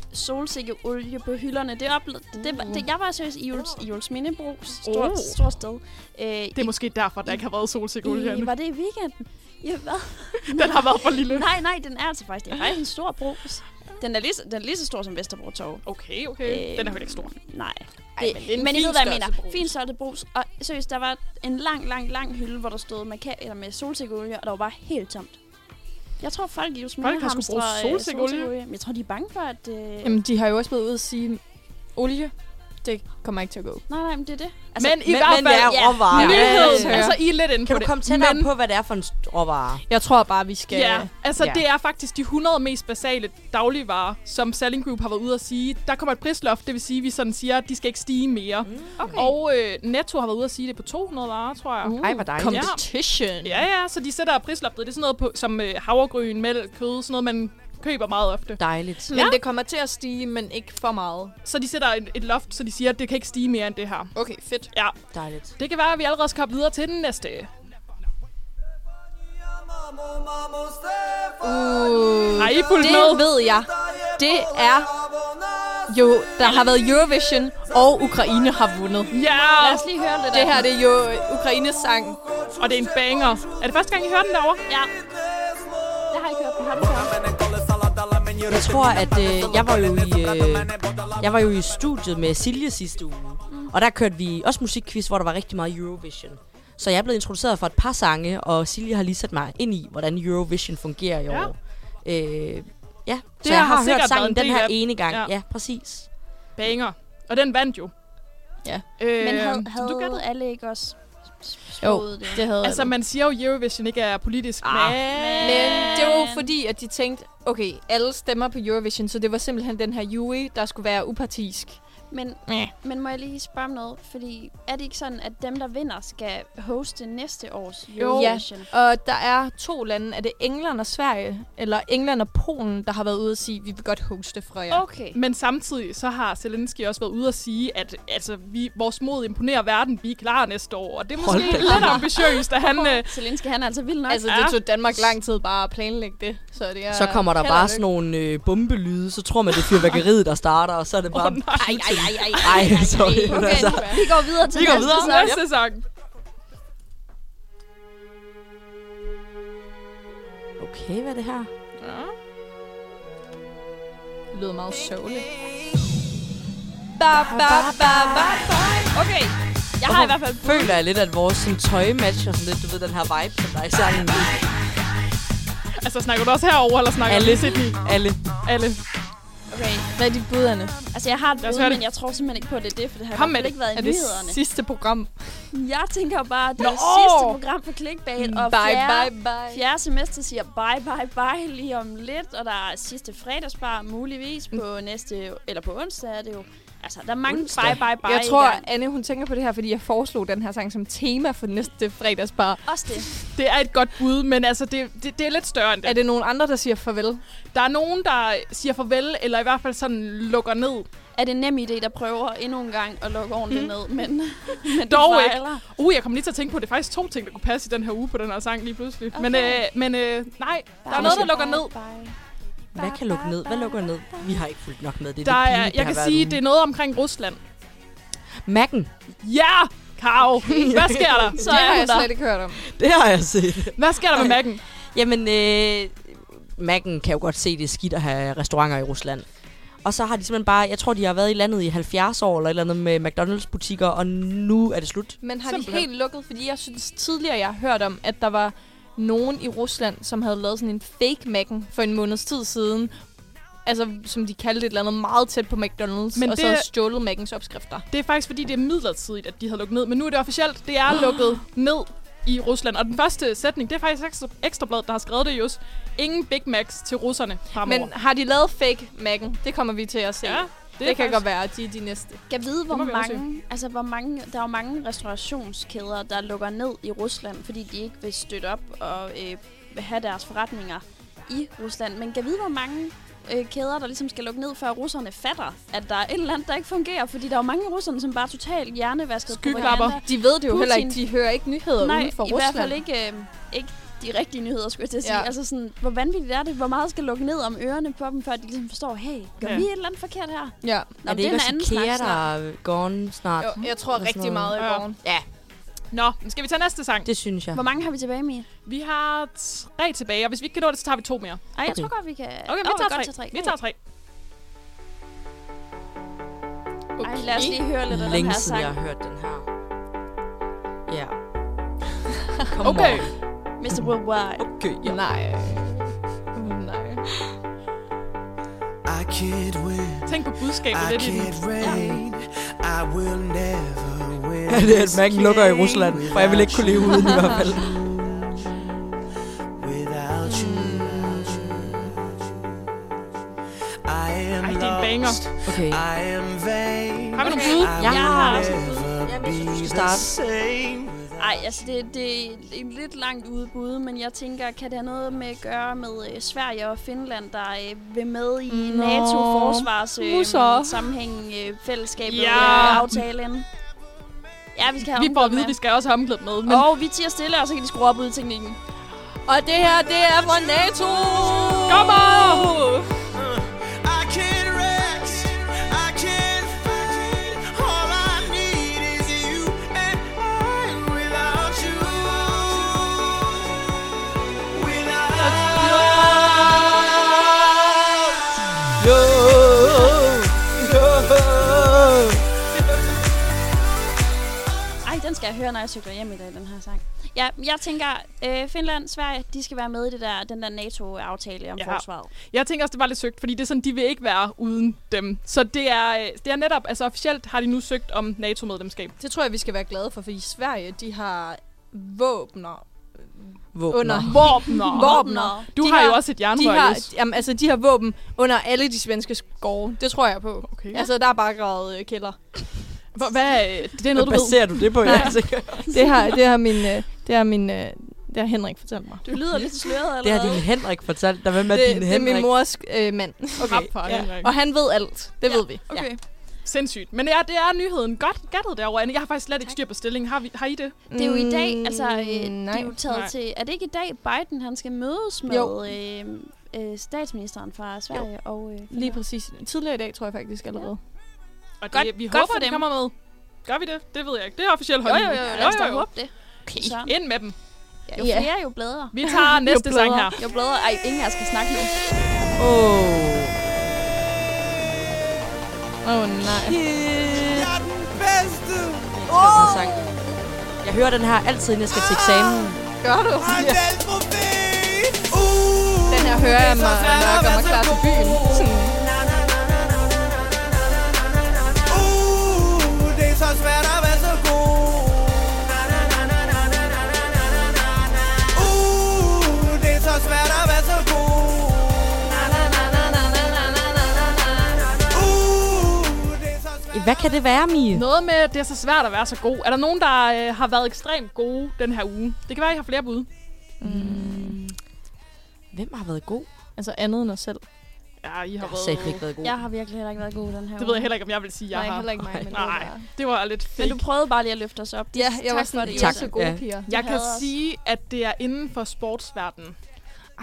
solsikkeolie på hylderne? Det oplevede... Det, var- det, jeg var seriøst i Jules, i Jules Mindebrug, stort, Uh. oh. stort sted. Øh, Det er måske derfor, der ikke har været solsikkeolie i, i, herinde. var det i weekenden? Ja, hvad? [LAUGHS] Den har været for lille. Nej, nej, den er altså faktisk, det er faktisk en stor brus. Den er lige, så- den er lige så stor som Vesterbro Torv. Okay, Eh, okay. Øh, Øhm, Den er vel ikke stor. Nej. Ej, men det er en men I fin ved, hvad jeg størrelse mener. brus. Fin størrelse brus. Og seriøst, der var en lang, lang, lang hylde, hvor der stod med, ka- eller med solsikkeolie, og der var bare helt tomt. Jeg tror, folk i Jules Folk har sgu hamstrer, brugt øh, solsikkeolie. Men jeg tror, de er bange for, at... Øh... Jamen. Jamen, de har jo også været ude at sige, olie, det kommer ikke til at gå. Nej, nej, men det er det. Altså, men i hvert men det fald, er råvarer. nyhed. Ja, ja, ja. Altså, I er lidt Kan inde på du det. komme tættere men, på, hvad det er for en st- råvare? Jeg tror bare, vi skal... Ja, altså ja. det er faktisk de 100 mest basale dagligvarer, som Selling Group har været ude at sige. Der kommer et prisloft, det vil sige, at vi sådan siger, at de skal ikke stige mere. Mm. Okay. Og øh, Netto har været ude at sige det på 200 varer, tror jeg. Ej, hvor dejligt. Ja. Competition. Ja, ja, så de sætter prisloftet. Det er sådan noget på, som øh, havregryn, mælk, kød, sådan noget, man køber meget ofte. Dejligt. Men det kommer til at stige, men ikke for meget. Så de sætter et, et loft, så de siger, at det kan ikke stige mere end det her. Okay, fedt. Ja, Dejligt. det kan være, at vi allerede skal hoppe videre til den næste. Nyere mål Uh, Har I fulgt med? det ved jeg. Det er jo, der har været Eurovision, og Ukraine har vundet. Ja, Lad os lige høre lidt Det af her, det er jo Ukraines sang. og det er en banger. Er det første gang, I hører den derovre? den. Ja. Jeg har ikke hørt den. Har du hørt den? Jeg tror, at øh, jeg var jo i øh, jeg var jo i studiet med Silje sidste uge, Mm. og der kørte vi også musikquiz, hvor der var rigtig meget Eurovision. Så jeg er blevet introduceret for et par sange, og Silje har lige sat mig ind i, hvordan Eurovision fungerer i Ja. år. Øh, ja, så Det jeg har har, sikkert hørt været en sangen den del her af- ene gang. Ja. Ja, ja præcis. Banger. Og den vandt jo. Ja. Øh, Men havde, så du gættede? havde alle ikke også Jo, spået det? det havde Altså, man siger jo, at Eurovision ikke er politisk. Ah. Men... Men det var jo fordi, at de tænkte, okay, alle stemmer på Eurovision, så det var simpelthen den her jury, der skulle være upartisk. Men, Ja. men må jeg lige spørge om noget? Fordi er det ikke sådan, at dem, der vinder, skal hoste næste års Jo. Ja. Eurovision? Og der er to lande, er det England og Sverige, eller England og Polen, der har været ude og sige, vi vil godt hoste fra jer. Okay. Men samtidig så har Zelensky også været ude og sige, at altså, vi, vores mod imponerer verden, vi er klar næste år. Og det er Hold måske da lidt ambitiøst, at han... Øh, Zelensky, han er altså vild nok. Altså, Ja. det tog Danmark lang tid bare at planlægge det, så det er... Så kommer der heller bare ikke. sådan nogle øh, bombelyde, så tror man, det er fyrværkeriet, der starter, og så er det bare... nej. Ej, ej, ej, ej, ej, sorry. men okay, altså. vi går videre til Vi går næste videre. sang. Næste sang. Okay, hvad er det her? Det lyder meget sørgeligt. Ba, ba, ba, ba. Okay, jeg har i hvert fald... Føler jeg lidt, at vores sådan, tøj matcher sådan lidt, du ved, den her vibe, som der er i sangen. Altså, snakker du også herover eller snakker Alle. du lidt i Alle. alle? Okay, Hvad er de buderne? altså jeg har et Lad os bud, høre det. men jeg tror simpelthen ikke på, at det er det, for det har i Kom hvert med fald det. ikke været i Er det nyhederne. sidste program? Jeg tænker jo bare, at det er Nå! sidste program for Clickbait, og Mm, bye, fjerde, bye, bye. fjerde semester siger bye, bye, bye lige om lidt, og der er sidste fredagsbar muligvis Mm. på næste, eller på onsdag er det jo. Altså, der er mange Onsdag? bye, bye, bye Jeg i tror, gang. Anne, hun tænker på det her, fordi jeg foreslog den her sang som tema for næste fredagsbar. Også det. Det er et godt bud, men altså, det, det, det er lidt større end det. Er det nogen andre, der siger farvel? Der er nogen, der siger farvel, eller i hvert fald sådan lukker ned. Er det en nem idé, der prøver endnu en gang at lukke Mm. ordentligt [LAUGHS] ned, men, men det [LAUGHS] Dog ikke. fejler. Uh, jeg kom lige til at tænke på, at det er faktisk to ting, der kunne passe i den her uge på den her sang lige pludselig. Okay. Men, øh, men øh, nej, der er noget, der lukker ned. Bye. Hvad kan lukke ned? Hvad lukker ned? Vi har ikke fulgt nok med. Det er Der det er, pinligt, jeg har kan været sige, ude. det er noget omkring Rusland. Mac'en. Ja! Kav! Hvad sker [LAUGHS] der? Så Så det er har hun jeg der. slet ikke hørt om. Det har jeg set. Hvad sker der med Mac'en? Jamen, øh, Mac'en kan jo godt se, det er skidt at have restauranter i Rusland. Og så har de simpelthen bare, jeg tror, de har været i landet i 70 år eller et eller andet med McDonald's-butikker, og nu er det slut. Men har de Simpelthen. helt lukket? Fordi jeg synes tidligere, jeg har hørt om, at der var nogen i Rusland, som havde lavet sådan en fake Mac'en for en måneds tid siden. Altså, som de kaldte et eller andet meget tæt på McDonald's, Men Men og det... så det- havde stjålet Mac'ens opskrifter. Det er faktisk, fordi det er midlertidigt, at de har lukket ned. Men nu er det officielt. Det er lukket ned i Rusland. Og den første sætning, det er faktisk Ekstra- Ekstrabladet, der har skrevet det, just. Ingen Big Macs til russerne fremover. Men har de lavet fake Mac'en? Det kommer vi til at se. ja, Ja, det, det, er det kan faktisk- godt være, at de er de næste. Jeg ved, hvor må vi mange, altså, hvor mange, der er jo mange restaurationskæder, der lukker ned i Rusland, fordi de ikke vil støtte op og øh, vil have deres forretninger i Rusland. Men kan vide, hvor mange øh, kæder, der ligesom skal lukke ned, før russerne fatter, at der er et eller andet, der ikke fungerer. Fordi der er jo mange af russerne, som bare er totalt hjernevasket Skyklapper. De ved det jo Putin. Putin. heller ikke. De hører ikke nyheder Nej, uden for i hvert Rusland. fald ikke, øh, ikke de rigtige nyheder, skulle jeg til at sige. Ja. Altså sådan, hvor vanvittigt er det? Hvor meget skal lukke ned om ørerne på dem, før de ligesom forstår, hey, gør Ja. vi et eller andet forkert her? Nå, Ja. er men det ikke en også anden Ikea, snak der snart. er gone snart? Jo, jeg tror Eller sådan noget. rigtig meget i Ja. morgen. Nå, men skal vi tage næste sang? Det synes jeg. Hvor mange har vi tilbage, Mie? Vi har tre tilbage, og hvis vi ikke kan nå det, så tager vi to mere. Ej, jeg Okay. tror godt, vi kan... Okay, Åh, vi, tager godt tre. til vi tager tre. Ej, lad os lige høre lidt af den Længe her siden, sang. jeg har hørt den her. Ja. Kom Okay. Mr. Worldwide. Okay, ja. Nej. Nej. I can't win, Tænk på budskabet I lidt i den. can't rain, I will never win. Ja, [LAUGHS] det er, at mærken lukker i Rusland, for jeg vil ikke kunne leve uden i hvert fald. Without you, I am Ej, det er en banger. lost. Okay. I am vain. Har vi nogle bud? I Jeg will har også never Jamen, jeg synes, du be skal the starte. same. Ej, altså det, det er en lidt langt udbud, men jeg tænker, kan det have noget med at gøre med øh, Sverige og Finland, der øh, vil med i Nå. NATO-forsvars Musser. øh, sammenhæng, øh, fællesskabet Ja. ja. øh, aftalen? Ja, vi skal have Vi får at omkvædet vide, at vi med. skal også have omklædt med. Men Og vi tiger stille, og så kan de skrue op ud i teknikken. Og det her, det er fra NATO! Kom on! I can rest, I can fight. All I need is you and I. Without you, without you, Ej, den skal jeg høre, når jeg cykler hjem i dag, den her sang. Ja, jeg tænker, øh, Finland, Sverige, de skal være med i det der, den der NATO-aftale om ja. Ja. forsvaret. Jeg tænker også, det var lidt søgt, fordi det er sådan, de vil ikke være uden dem. Så det er, øh, det er netop, altså officielt har de nu søgt om NATO-medlemskab. Det tror jeg, vi skal være glade for, fordi Sverige, de har våbner. Våbner. Under. Våbner. [LAUGHS] Våbner. Du de har jo også et de jernrør, har, Jess. jamen, altså, de har våben under alle de svenske skove. Det tror jeg på. Okay. Ja. Altså, der er bare gravet øh, [LAUGHS] kælder. Hvor- Hvad, øh, det er Hvad noget, du ved. baserer du det på? Jeg er sikker. Det har, det har min... Øh, det har min øh, det har Henrik fortalt mig. Du lyder lidt sløret Det har allerede. din Henrik fortalt dig. Hvem er det, din det er Henrik? min mors øh, mand. Okay. For, ja. Og han ved alt. Det ja. ved vi. Okay. Sindssygt. Men ja, det er nyheden. Godt gættet derovre, Anne. Jeg har faktisk slet ikke styr på stillingen. Har, vi, har I det? Det er jo i dag, altså, øh, det Mm, nej. er jo taget Nej. til... Er det ikke i dag, Biden han skal mødes med Jo. øh, øh, statsministeren fra Sverige jo. og... Øh, Lige Finland? præcis. Tidligere i dag, tror jeg faktisk allerede. Og Godt- det, vi godt håber, for de dem. kommer med. Gør vi det? Det ved jeg ikke. Det er officielt jo, holdning. jo, jo, lad os da håbe det. Okay. Sådan. Ind med dem. Jo Ja. flere, jo bedre. Vi [LAUGHS] tager næste sang her. Jo bedre. Ej, ingen af jer skal snakke nu. Oh. Åh, oh, nej. Oh! Sang. Jeg hører den her altid, inden jeg skal til eksamen. Gør du? Uh, Den her hører jeg mig, når jeg gør mig klar til byen. Sådan. Hvad kan det være, Mie? Noget med, at det er så svært at være så god. Er der nogen, der øh, har været ekstremt gode den her uge? Det kan være, I har flere bud. Mm. Hvem har været god? Altså andet end os selv. Ja, I har Jeg har været... sagt ikke været god. Jeg har virkelig heller ikke været god den her Det ved jeg uge. heller ikke, om jeg vil sige, jeg Nej, har. heller ikke mig, Nej. men Nej. det var- Det var lidt fake. Men du prøvede bare lige at løfte os op. Ja, jeg var Tak for sådan, det, I er Tak. så gode Ja. piger. jeg kan hader os. sige, at det er inden for sportsverdenen.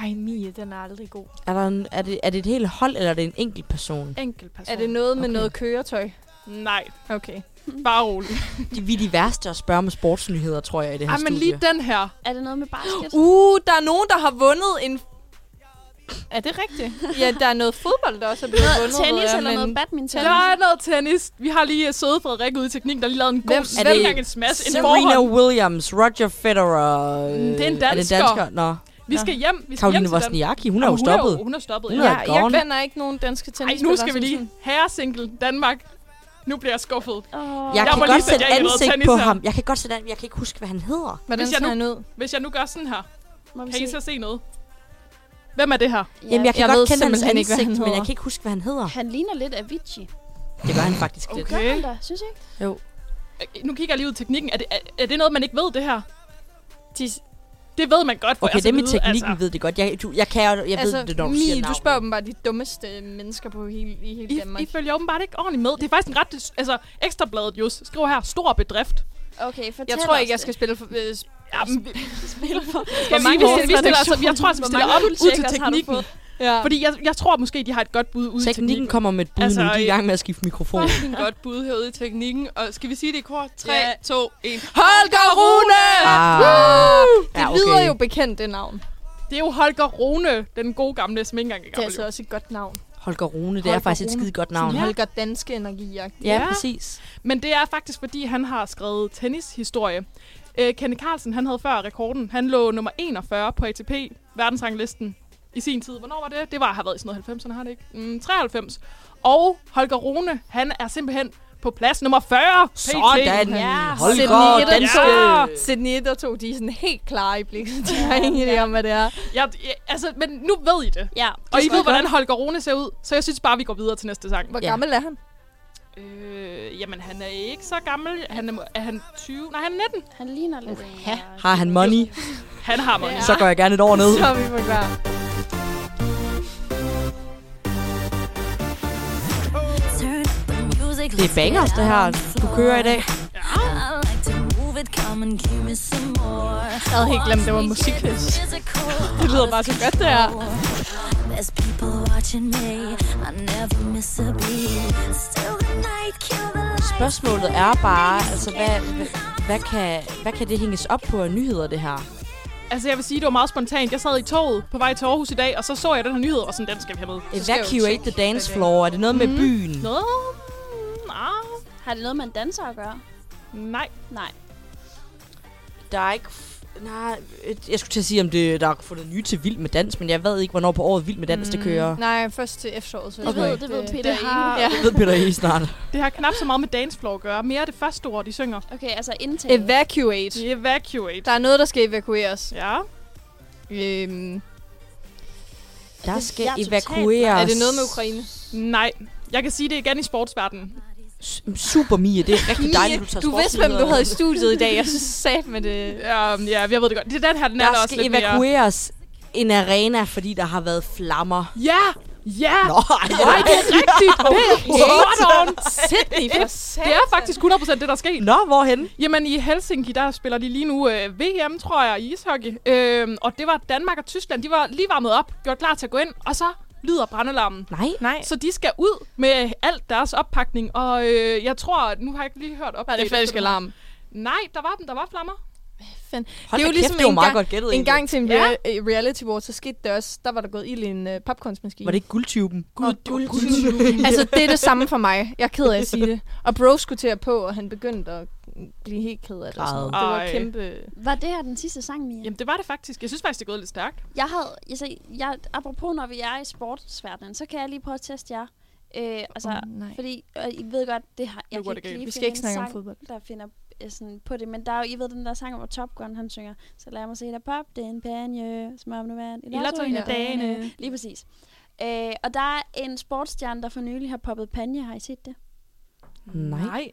Ej, Mie, den er aldrig god. Er, der en, er, det, er det et helt hold, eller er det en enkelt person? Enkelt person. Er det noget med Okay. noget køretøj? Nej, Okay. bare rolig. De, vi er de værste at spørge om sportsnyheder, tror jeg, i det her Ej, men studie. lige den her. Er det noget med basket? Uh, der er nogen, der har vundet en... Er det rigtigt? ja, der er noget fodbold, der også er blevet Noget vundet. tennis ved jeg, eller men noget badminton? Der er noget tennis. Vi har lige øh, søde Frederik ude i teknikken, der lige lavede en god Hvem- Hvem? er det- en smash. En Serena forhånd. Williams, Roger Federer. øh, det er en Er det en dansker. dansker? Nå, Vi skal hjem. Vi skal Karoline hjem til den. Wozniacki, hun er jo Hun er stoppet. jo- Hun er stoppet. Hun Ja. er Jeg, jeg gone. kender ikke nogen danske Ej, tennisspillere. nu skal vi som lige. sådan- Herresingle, Danmark. Nu bliver jeg skuffet. Oh. Jeg Jeg kan må lige godt sætte sætte jer i noget ansigt tennis på her. ham. Jeg kan godt sætte an- Jeg kan ikke huske, hvad han hedder. Hvordan Hvis jeg ser nu- han ud? Hvis jeg nu gør sådan her, Må vi kan I se? så se noget? Hvem er det her? Ja, Jamen, jeg kan jeg ved godt kende hans simpelthen ikke, hvad ansigt, han men jeg hedder. kan ikke huske, hvad han hedder. Han ligner lidt Avicii. Det gør han faktisk lidt. Gør Okay. han da, synes jeg ikke? Øh, Nu kigger jeg lige ud i teknikken. Er det, er, er det noget, man ikke ved, det her? De, Det ved man godt. for Okay, jeg skal det er min vide, teknikken, altså. ved det godt. Jeg, du, jeg, kan, jo- jeg altså, ved det, når du Mie, siger du spørger dem bare de dummeste mennesker på hele, i hele Danmark. I, I følger åbenbart ikke ordentligt med. Det er faktisk en ret... Altså, ekstrabladet, Jus, skriver her, stor bedrift. Okay, fortæl jeg tror os ikke, jeg det. skal spille for... Øh, Ja, men, vi, [LAUGHS] spille for. hvor mange vi, stiller, vi stiller, altså, jeg tror, at vi Hvor stiller mange op ud til guldcheckers har du teknikken. fået? ja. Fordi jeg, jeg tror måske, de har et godt bud ude i Teknikken teknikken. kommer med et bud Altså, altså, nu. De er i øh, gang med at skifte mikrofon. Fucking godt bud herude i teknikken. Og skal vi sige det i kor? 3, Ja. 2, 1. Holger Rune! Ah. Det Ja, okay. lyder jo bekendt, det navn. Det er jo Holger Rune, den gode gamle, som ikke engang er Det er gammel. altså også et godt navn. Holger Rune, det er Holger faktisk et Rune. skide godt navn. Sådan Holger Danske Energi. Ja, Ja. præcis. Men det er faktisk, fordi han har skrevet tennishistorie. Øh, Kenny Carlsen, han havde før rekorden. Han lå nummer 41 på ATP, verdensranglisten, i sin tid. Hvornår var det? Det var, har været i sådan noget 90'erne, har det ikke? Mm, 93. Og Holger Rune, han er simpelthen på plads nummer 40. PT. Sådan. Ja, Holger Sydney Ederson. Danske. Ja. Sydney 1 og 2, de er sådan helt klare i blikket. [LAUGHS] De har ingen idé om, hvad det er. Ja, ja, altså, men nu ved I det. Ja, Og I tror ved, jeg hvordan Holger Rune ser ud. Så jeg synes bare, vi går videre til næste sang. Hvor Ja. gammel er han? Øh, jamen, han er ikke så gammel. Han er, er han 20? Nej, han er 19. han ligner lidt. en, Ja. øh, Har han money, Han har mig. Ja. så går jeg gerne et år ned. [LAUGHS] Så er vi på klar. Turn the music Det er bangers, det her, du kører i dag. I like to move it, come Jeg havde helt glemt, det var en musikquiz. Det lyder bare så godt, det her. There's people watching me. I never miss a beat. Still the night, kill the light. Spørgsmålet er bare, altså, hvad, hvad, hvad, kan, hvad kan det hænges op på af nyheder, det her? Altså, jeg vil sige, det var meget spontant. Jeg sad i toget på vej til Aarhus i dag, og så så jeg den her nyhed, og sådan, den skal vi have med. Evacuate the dance floor. Er det noget med Mhm. byen? Nå, nej. Har det noget med en danser at gøre? Nej. Nej. Der er ikke... f- Nej, øh, jeg skulle til at sige, om det, der er fundet nye til Vild med Dans, men jeg ved ikke, hvornår på året Vild med Dans, mm. det kører. Nej, først til efteråret. Så Det, Okay. okay. ved, det ved Peter Det har- Ja. Jeg ved Peter I snart. Det har knap så meget med dancefloor at gøre. Mere det første ord, de synger. Okay, altså indtag. Evacuate. De evacuate. Der er noget, der skal evakueres. Ja. Øhm, Der Det- skal jeg er totalt- evakueres. er det noget med Ukraine? Nej. Jeg kan sige det igen i sportsverdenen. S- Super Mie, det er rigtig dejligt, du tager du vidste, hvem du sportsnyheder. havde i studiet i dag. Jeg [LAUGHS] [LAUGHS] synes sat med det. Ja, ja, jeg ved det godt. Det er den her, den er Der der også skal lidt mere. evakueres en arena, fordi der har været flammer. Ja! Ja! Nå, ej, nej, det er [LAUGHS] Rigtigt, det er spot on. Sydney for sat. Det er faktisk 100% det, der er sket. Nå, hvorhen? Jamen, i Helsinki, der spiller de lige nu øh, VM, tror jeg, i ishockey. Øh, og det var Danmark og Tyskland. De var lige varmet op, gjort klar til at gå ind, og så lyder brandalarmen. Nej. Nej. Så de skal ud med alt deres oppakning, og øh, jeg tror, nu har jeg ikke lige hørt op. Var det falsk alarm? Nej, der var den, der var flammer. Hold Det er jo da ligesom kæft, det var en meget gang- godt gættet En egentlig. gang til en rea- øh, reality war, så skete det også. Der var der gået ild i en øh, popcornsmaskine. Var det ikke guldtuben? Gud, gud, gud. altså, det er det samme for mig. Jeg er ked af at sige det. Og bro skulle til at på, og han begyndte at blive helt ked af det. Og sådan noget. Det var Ej. kæmpe... Var det her den sidste sang, Mia? Jamen, det var det faktisk. Jeg synes faktisk, det er gået lidt stærkt. Jeg havde, altså, jeg, apropos når vi er i sportsverdenen, så kan jeg lige prøve at teste jer. Øh, altså, Åh, nej. fordi øh, I ved godt, det har, jeg Nu går kan det ikke galt. lige Vi skal finde ikke en snakke om sang, fodbold. der finder øh, sådan på det, men der er jo, I ved den der sang, hvor Top Gun han synger, så lad mig se dig pop, det er en panje, som om nu vand, i lotto en af dagene. Lige præcis. Øh, og der er en sportsstjerne, der for nylig har poppet panje, har I set det? Nej.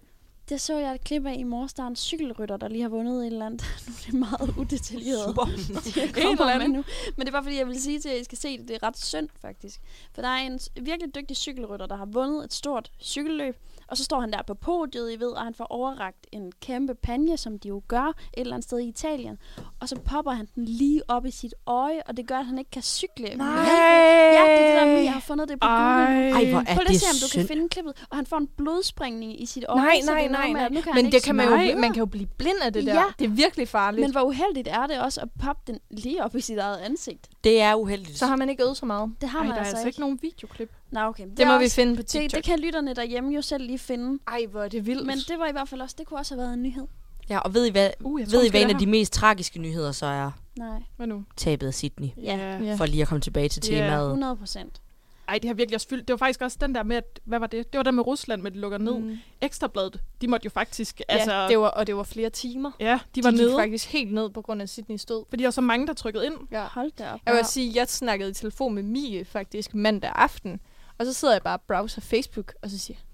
Det så jeg et klip af i morges, der er en cykelrytter, der lige har vundet et eller andet. [LAUGHS] Nu er det meget udetaljeret. [LAUGHS] Super. jeg En eller kommer med anden. nu. Men det var fordi, jeg ville sige til jer, at I skal se det. Det er ret synd, faktisk. For der er en s- virkelig dygtig cykelrytter, der har vundet et stort cykelløb. Og så står han der på podiet, I ved, og han får overragt en kæmpe panje, som de jo gør et eller andet sted i Italien. Og så popper han den lige op i sit øje, og det gør, at han ikke kan cykle. Nej! Ja, det er det der, Mia har fundet det på Google. Ej, hvor er Prøv lige det at se, om du synd. kan finde klippet. Og han får en blodspringning i sit øje. Nej, så det nej, er noget nej, med, nej. at nu kan han Men det ikke kan man, cykle. jo, man kan jo blive blind af det der. Ja. Det er virkelig farligt. Men Men hvor uheldigt er det også at poppe den lige op i sit eget ansigt? Det er uheldigt. så har man ikke øvet så meget. Det har Ej, man der er altså altså ikke. ikke nogen videoklip. Nå, okay. Det er må vi også, finde på det, TikTok. det kan lytterne derhjemme jo selv lige finde. Ej, hvor er det vildt. Men det var i hvert fald også, det kunne også have været en nyhed. Ja, og ved I, hvad, Uh, jeg tror, ved I, måske, hvad en af det er de mest tragiske nyheder så er? Nej, her. Hvad nu? Tabet af Sydney. Ja. Ja. For lige at komme tilbage til Ja. temaet. 100 procent. Ej, det har virkelig også fyldt. Det var faktisk også den der med, at, hvad var det? Det var den med Rusland, med at det lukker ned. Mm. Mm. Ekstrabladet, de måtte jo faktisk, altså, Altså, ja, det var, og det var flere timer. ja, de var de nede. gik faktisk helt ned på grund af Sydney stod. Fordi der var så mange, der trykkede ind. Ja. Hold da op. Jeg vil også sige, at jeg snakkede i telefon med Mie faktisk mandag aften. Og så sidder jeg bare og browser Facebook, og så siger jeg,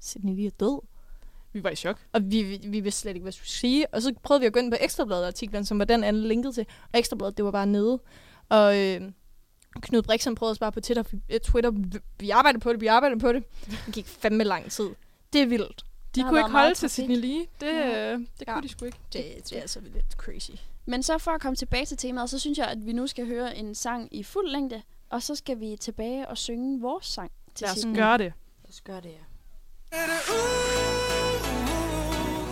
Sydney lige er død. Vi var i chok. Og vi, vi, vi vidste slet ikke, hvad vi skulle sige. Og så prøvede vi at gå ind på Ekstrabladet artiklen, som var den anden linket til. Og Ekstrabladet, det var bare nede. Og øh, Knud Brixen prøvede os bare på Twitter. øh, Twitter vi, vi arbejder på det, vi arbejder på det. Det gik fandme lang tid. Det er vildt. De Der har kunne været ikke holde meget til trafik. Sydney lige. Det, ja. det Ja. kunne de sgu ikke. Det, det er altså lidt crazy. Men så for at komme tilbage til temaet, så synes jeg, at vi nu skal høre en sang i fuld længde. Og så skal vi tilbage og synge vores sang til Lad os sidst. gøre det. Gør det, ja.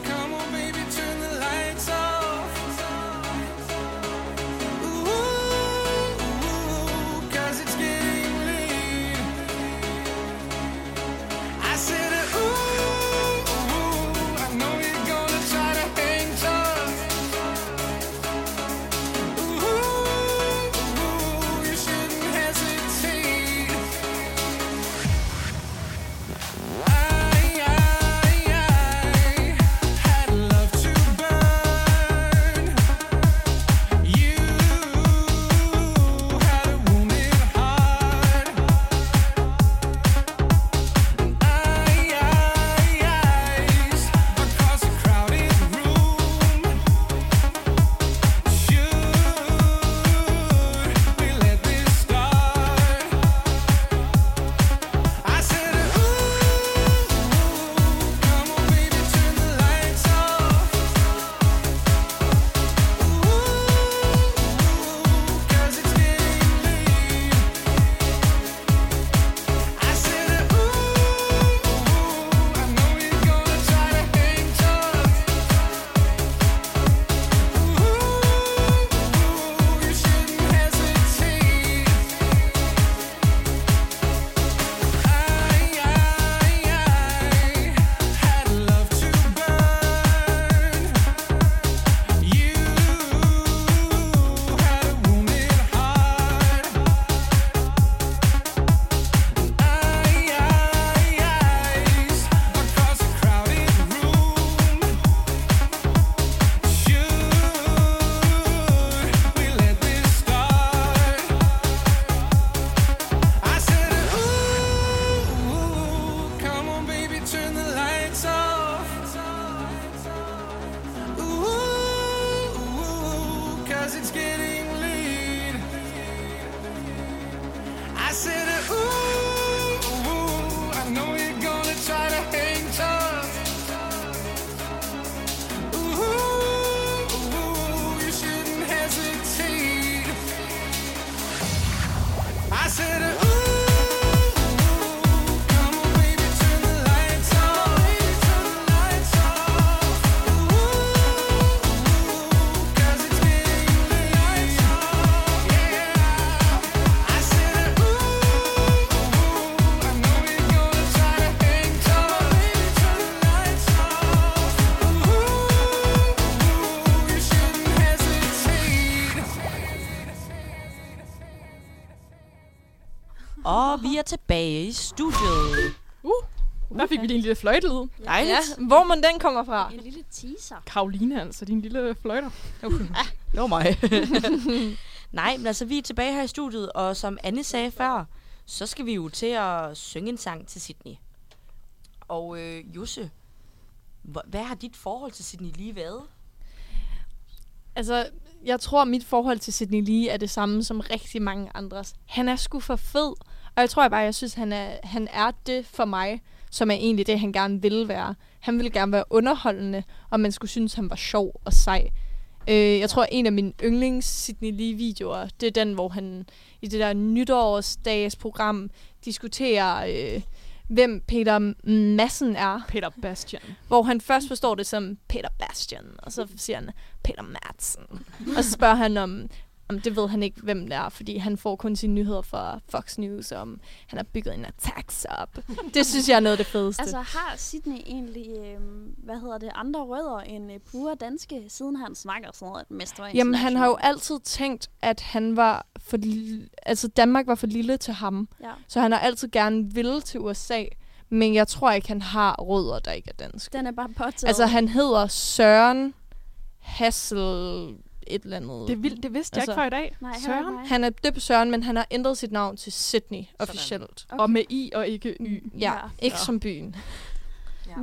Come on, baby, turn the lights off. Ooh, 'cause it's getting late. I said, ooh, I know you're gonna try to hang tough. Ooh, you shouldn't hesitate. Ay, ay, ay. Vi er tilbage i studiet. Der Uh. fik vi lige en lille fløjtelyd. Ja, hvor man den kommer fra. En lille teaser. Karoline, altså din lille [LAUGHS] fløjter. Det var mig. [LAUGHS] Nej, men altså, vi er tilbage her i studiet, og som Anne sagde før, så skal vi jo til at synge en sang til Sydney. Og øh, Josse, hva- hvad har dit forhold til Sydney lige været? Altså, jeg tror, mit forhold til Sidney Lee er det samme som rigtig mange andres. Han er sgu for fed, og jeg tror bare, jeg synes, han er, han er det for mig, som er egentlig det, han gerne ville være. Han ville gerne være underholdende, og man skulle synes, han var sjov og sej. Øh, jeg tror, en af mine yndlings Sidney Lee-videoer, det er den, hvor han i det der nytårsdagsprogram diskuterer, øh, hvem Peter Massen er Peter Bastian. hvor han først forstår det som Peter Bastian, og så siger han Peter Madsen. Og så spørger han om, om det ved han ikke, hvem det er, fordi han får kun sine nyheder fra Fox News, om han har bygget en attacks op. Det synes jeg er noget af det fedeste. Altså har Sydney egentlig, øhm, hvad hedder det, andre rødder end øh, pure danske, siden han snakker sådan noget, at mestre Jamen, han har jo altid tænkt, at han var for lille, altså Danmark var for lille til ham. Ja. Så han har altid gerne ville til USA, men jeg tror ikke, han har rødder, der ikke er danske. Den er bare påtaget. Altså, han hedder Søren Hassel et eller andet. Det er vildt, det vidste jeg Altså- ikke før i dag. Nej, Søren. Søren. Han... Han er døbt Søren, men han har ændret sit navn til Sydney officielt. Og med I og ikke Y. Ja, Ja. ikke som byen.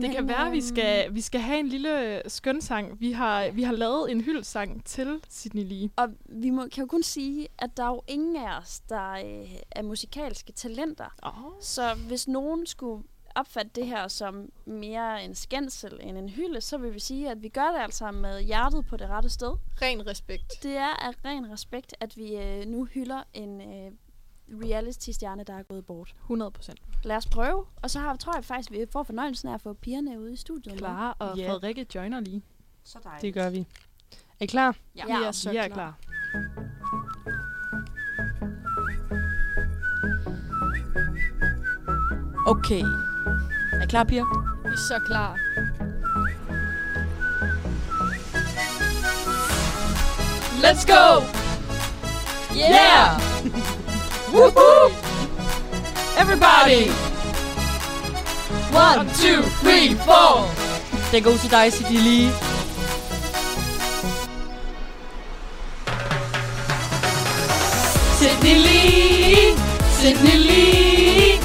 Det kan være, at vi skal, vi skal have en lille øh, skønsang. Vi har, vi har lavet en hyldsang til Sydney Lee. Og vi må, kan jo kun sige, at der er jo ingen af os, der øh, er musikalske talenter. Oh. Så hvis nogen skulle opfatte det her som mere en skændsel end en hylde, så vil vi sige, at vi gør det altså med hjertet på det rette sted. Ren respekt. Det er af ren respekt, at vi øh, nu hylder en øh, reality-stjerne, der er gået bort. 100 procent. Lad os prøve, og så har, tror jeg faktisk, vi får fornøjelsen af at få pigerne ude i studiet. med. Clara og yeah. Frederikke joiner lige. Så dejligt. Det gør vi. Er I klar? Ja. Vi er ja. så vi er klar. klar. Okay. Er I klar, piger? Vi er så klar. Let's go! Yeah! [LAUGHS] Woohoo! Everybody! One, two, three, four! Den går til dig, Sydney Lee. Sydney Lee, Sydney Lee.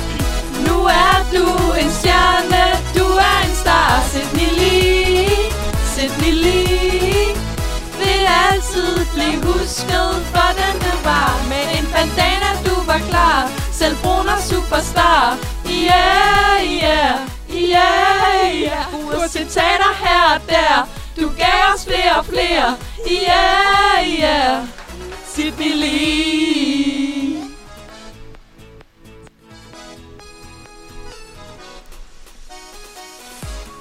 Nu er du en stjerne, du er en star. Sydney Lee, Sydney Lee. Vil altid blive husket for den du var. Med en bandana, du var klar. Selv brun og superstar. Yeah, yeah, yeah, yeah. Gode citater her og der. Du gav os flere og flere. Yeah, yeah. Sydney Lee.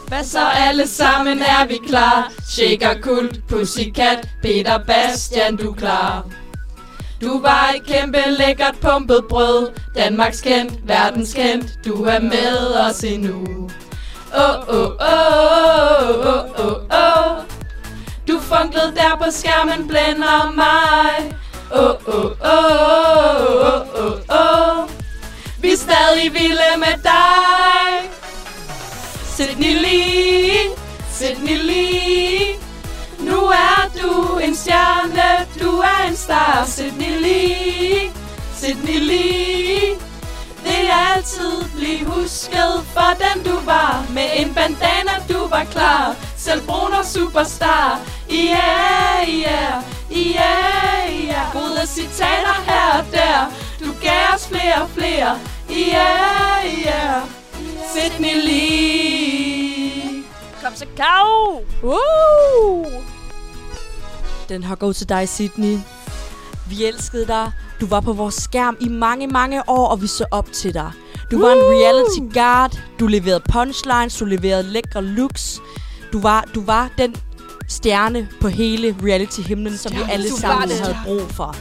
Hvad så alle sammen, er vi klar? Shaker Kult, Pussycat, Peter Bastian, du er klar. Du var et kæmpe lækkert pumpet brød. Danmarks kendt, verdens kendt, du er med os endnu. Åh, åh, åh, åh, åh, åh. Du funklede der på skærmen, blænder mig. Åh, åh, åh, åh, åh, åh. Vi er stadig vilde med dig. Sydney Lee, Sydney Lee. Nu er du en stjerne, du er en star. Sydney Lee, Sydney Lee. Vil altid blive husket for den du var. Med en bandana, du var klar. Selv brun og superstar. Yeah, yeah, yeah, yeah. Gode citater her og der. Du gav os flere og flere. Yeah, yeah. Sydney Lee. Kom så, Kav! Woo! Den har gået til dig, Sydney. Vi elskede dig. Du var på vores skærm i mange, mange år, og vi så op til dig. Du var en reality guard. Du leverede punchlines. Du leverede lækre looks. Du var, du var den stjerne på hele reality-himlen, som vi alle sammen det. havde brug for.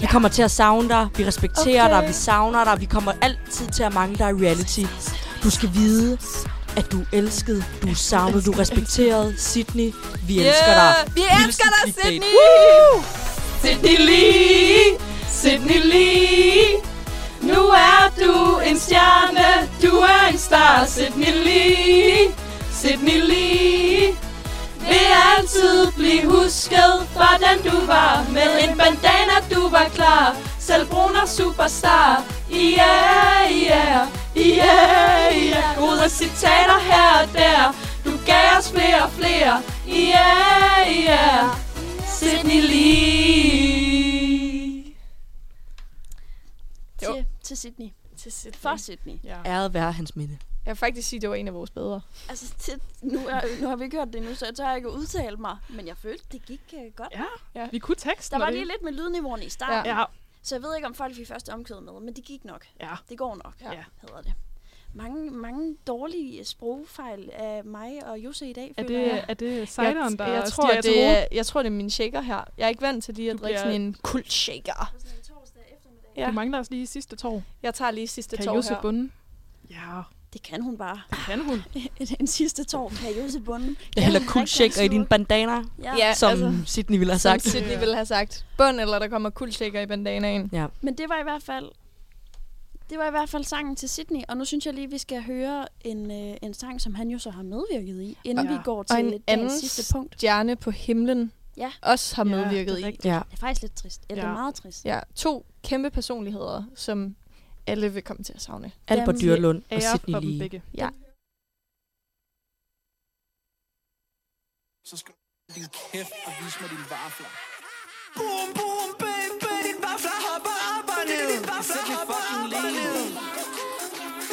Vi kommer til at savne dig. Vi respekterer okay. dig. Vi savner dig. Vi kommer altid til at mangle dig i reality. Du skal vide, at du er elsket. Du er savnet. Du er respekteret. Sydney, vi elsker dig. Vi elsker dig, Clickbait. Sydney! Sydney Lee, Sydney Lee. Nu er du en stjerne, du er en star, Sydney Lee, Sydney Lee. Vil altid blive husket, hvordan du var, med en bandana du var klar, selv brun og superstar. Yeah, yeah, yeah, yeah. Gode citater her og der, du gav os flere og flere. Yeah, yeah, Sydney Lee. Til, til Sydney. Til For Sydney. Ja. Æret være hans minde. Jeg vil faktisk sige, at det var en af vores bedre. Altså, til, nu, er, nu har vi ikke hørt det endnu, så jeg tør ikke at udtale mig. Men jeg følte, det gik uh, godt. Ja, vi kunne teksten. Der var og lige det- lidt med lydniveauerne i starten. Ja, Så jeg ved ikke, om folk fik første omkød med, men det gik nok. Ja. Det går nok, Ja. hedder det. Mange, mange dårlige sprogfejl af mig og Jose i dag, er føler jeg. det, er det cideren, der jeg, jeg, tror, stiger til det hovedet? er, jeg tror, det er min shaker her. Jeg er ikke vant til lige at Du drikke bliver- sådan en kult shaker. Du mangler os lige sidste tår. Jeg tager lige sidste Kan tår Jose her. bunde? Ja, Det kan hun bare. det kan [LAUGHS] hun. en, en sidste tår kan Jose bunden. Jeg hælder Kan hun cool rigtig shaker i gerne dine bandaner, slukke. Ja. Ja. ja. som altså. Sydney ville have Som sagt. Sydney ville have sagt. Bund, eller der kommer kult shaker i bandanaen. Men det var i hvert fald... Det var i hvert fald sangen til Sydney, og nu synes jeg lige, vi skal høre en, øh, en sang, som han jo så har medvirket i, inden Og- vi går og en til anden dagens sidste punkt. Stjerne på himlen Ja. også har Ja, medvirket det er i. rigtigt. Ja, Det er faktisk lidt trist. Eller ja. Ja. meget trist. Ja, to kæmpe personligheder, som alle vil komme til at savne. Albert Jamen, Dyrlund og Ære Sydney for dem Lee. begge. [LAUGHS] Så skal du din kæft og vise mig din vafler. Boom, boom, baby, din vafler hopper op og ned. Din vafler hopper op og ned.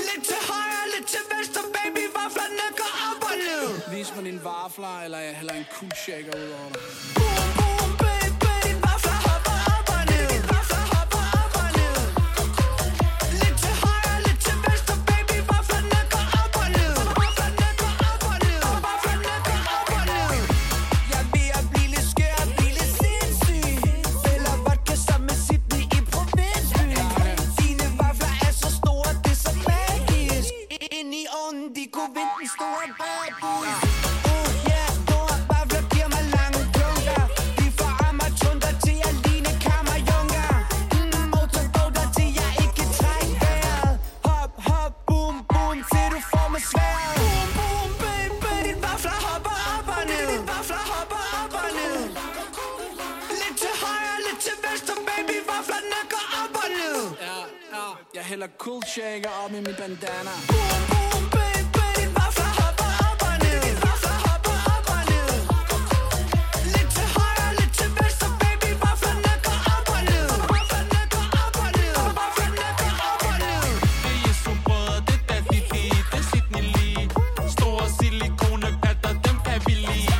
Lidt til højre, lidt til venstre, baby, vaflerne går op og ned. Vis mig din vafler, eller jeg hælder en cool shaker ud over dig. Boom, boom, baby, din vafler hopper op og ned. Din vafler hopper op og ned. Lidt til højre, lidt til venstre, baby, vaflerne går op og ned. Vaflerne går op og ned. Vaflerne går op og ned. Jeg vil at blive lidt skør og blive lidt sindssyg Spiller vodka sammen med Sydney i provinsby Dine vafler er så store, det er så magisk Ind i ovnen, de kunne vinde den store bad boy Uh, yeah, store vafler giver mig lange klunker De får amatrunder til at ligne kammerjunker Mm, motorbåder til jeg ikke kan trække vejret Hop, hop, boom, boom, til du får mig sværet Boom, boom, baby, din vafler hopper op og ned Din vafler hopper op og ned Lidt til højre, lidt til venstre, baby, vaflerne går op og ned Ja, ja, jeg hælder cool shaker op i min bandana Boom, boom, baby, din vafler hopper op og ned Din vafler hopper op og ned Lidt til højre, lidt til venstre, baby, vaflerne går op og ned Vaflerne går op og ned Vaflerne går op og ned Det er subrød, det er Daphne D, det er Sydney Lee. Store silikonepatter, dem kan vi lide.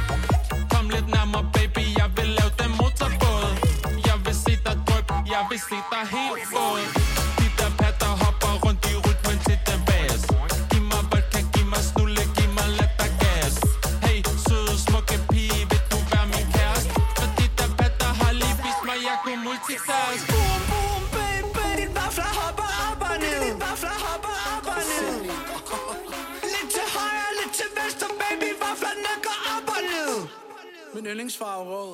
Kom lidt nærmere, baby, jeg vil lave den motorbåd. Jeg vil se dig dryp, jeg vil se dig helt våd. De der patter hopper rundt i rytmen til den bas. Giv mig vodka, giv mig snulle, giv mig lattergas. Hey, søde, smukke pige, vil du være min kæreste? For de der patter har lige vist mig, jeg kunne multitask. Boom, boom, baby, din vafler hopper op og ned. Din vafler hopper op og ned. Lidt til højre, lidt til venstre, baby, vaflerne går op og ned. Min yndlingsfarve rød,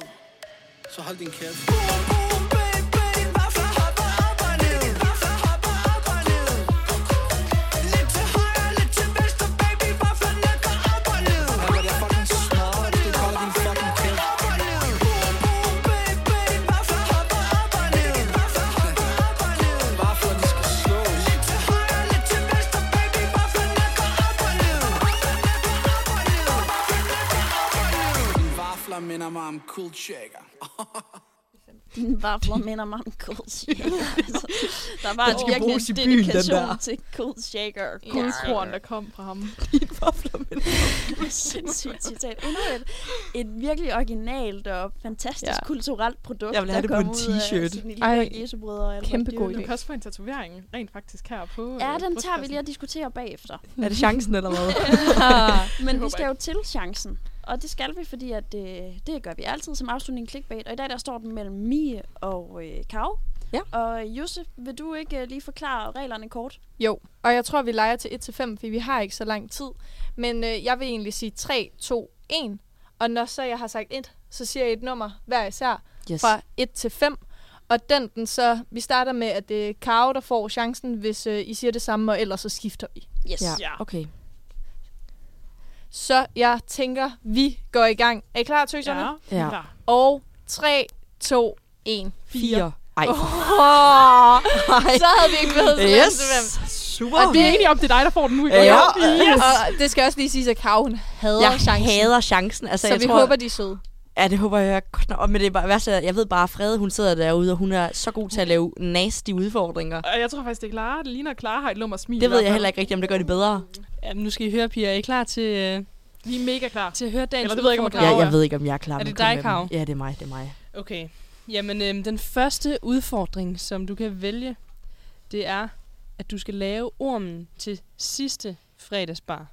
så hold din kæft. Boom, boom, baby, din vafler hopper op og ned. Din vafler hopper op og ned. Lidt til højre, lidt til venstre, baby, vaflerne går op og ned. Albert, jeg fucking smadrer dig, du holder din fucking kæft. Boom, boom, baby, din vafler hopper op og ned. Din vafler hopper op og ned. Vaflerne skal slås. Lidt til højre, lidt til venstre, baby, vaflerne går op og ned. Vaflerne går op og ned. Vaflerne går op og ned. Din vafler minder mig om cool shaker. Dine vafler minder mig om [LAUGHS] cold shaker. altså, der var Den skal virkelig bruges i en byen, den dedikation der. til cold shaker. Guldkorn, der kom fra [LAUGHS] ham. [LAUGHS] Sindssygt citat. Endnu et, et virkelig originalt og fantastisk Ja. ja. [LAUGHS] kulturelt produkt, Jeg vil have der det på kom en ud af t-shirt. Sydney Lee Ej, og Jesu Brødre og Albert kæmpe god Du Dyrlund. kan også få en tatovering rent faktisk her på øh, Ja, den tager vi brystkassen. lige at diskutere bagefter. Er det chancen eller [LAUGHS] hvad? Men vi håber skal jo til chancen. Og det skal vi, fordi at, øh, det gør vi altid som afslutning clickbait. Og i dag der står den mellem Mie og øh, Kav. Ja. Og øh, Josef, vil du ikke øh, lige forklare reglerne kort? Jo, og jeg tror, vi leger til 1-5, fordi vi har ikke så lang tid. Men øh, jeg vil egentlig sige 3, 2, 1. Og når så jeg har sagt 1, så siger jeg et nummer hver især Yes. fra 1 til 5. Og den, den så, vi starter med, at det er Karo, der får chancen, hvis øh, I siger det samme, og ellers så skifter vi. Yes. Ja. ja. Okay. Så jeg tænker, vi går i gang. Er I klar, tøserne? Ja. Ja. Og 3, 2, 1, 4. Fire. Ej. Oh, [LAUGHS] så havde vi ikke behøvet til Yes. yes. Super. Og vi er enige om, det er dig, der får den nu i Ja. går. Yes. Og det skal også lige siges, at Karo, hun hader jeg chancen. hader chancen. Altså, så jeg vi tror, håber, de er søde. Ja, det håber jeg godt nok. Men det er bare, værste er, jeg ved bare, at Frede, hun sidder derude, og hun er så god til at lave nasty udfordringer. Og jeg tror faktisk, det er Clara. Det ligner, at Clara har et lummer smil. Det ved jeg heller ikke rigtigt, om det gør det bedre. Jamen, nu skal I høre, piger. Er I klar til, øh, Vi er mega klar. til at høre dagens Eller det ved jeg ikke, om udfordring? Karo Ja, jeg ved ikke, om jeg er klar. Er men det kom dig, med dem. Karo? Ja, det er mig, det er mig. Okay. Jamen, øhm, den første udfordring, som du kan vælge, det er, at du skal lave ormen til sidste [LAUGHS] fredagsbar.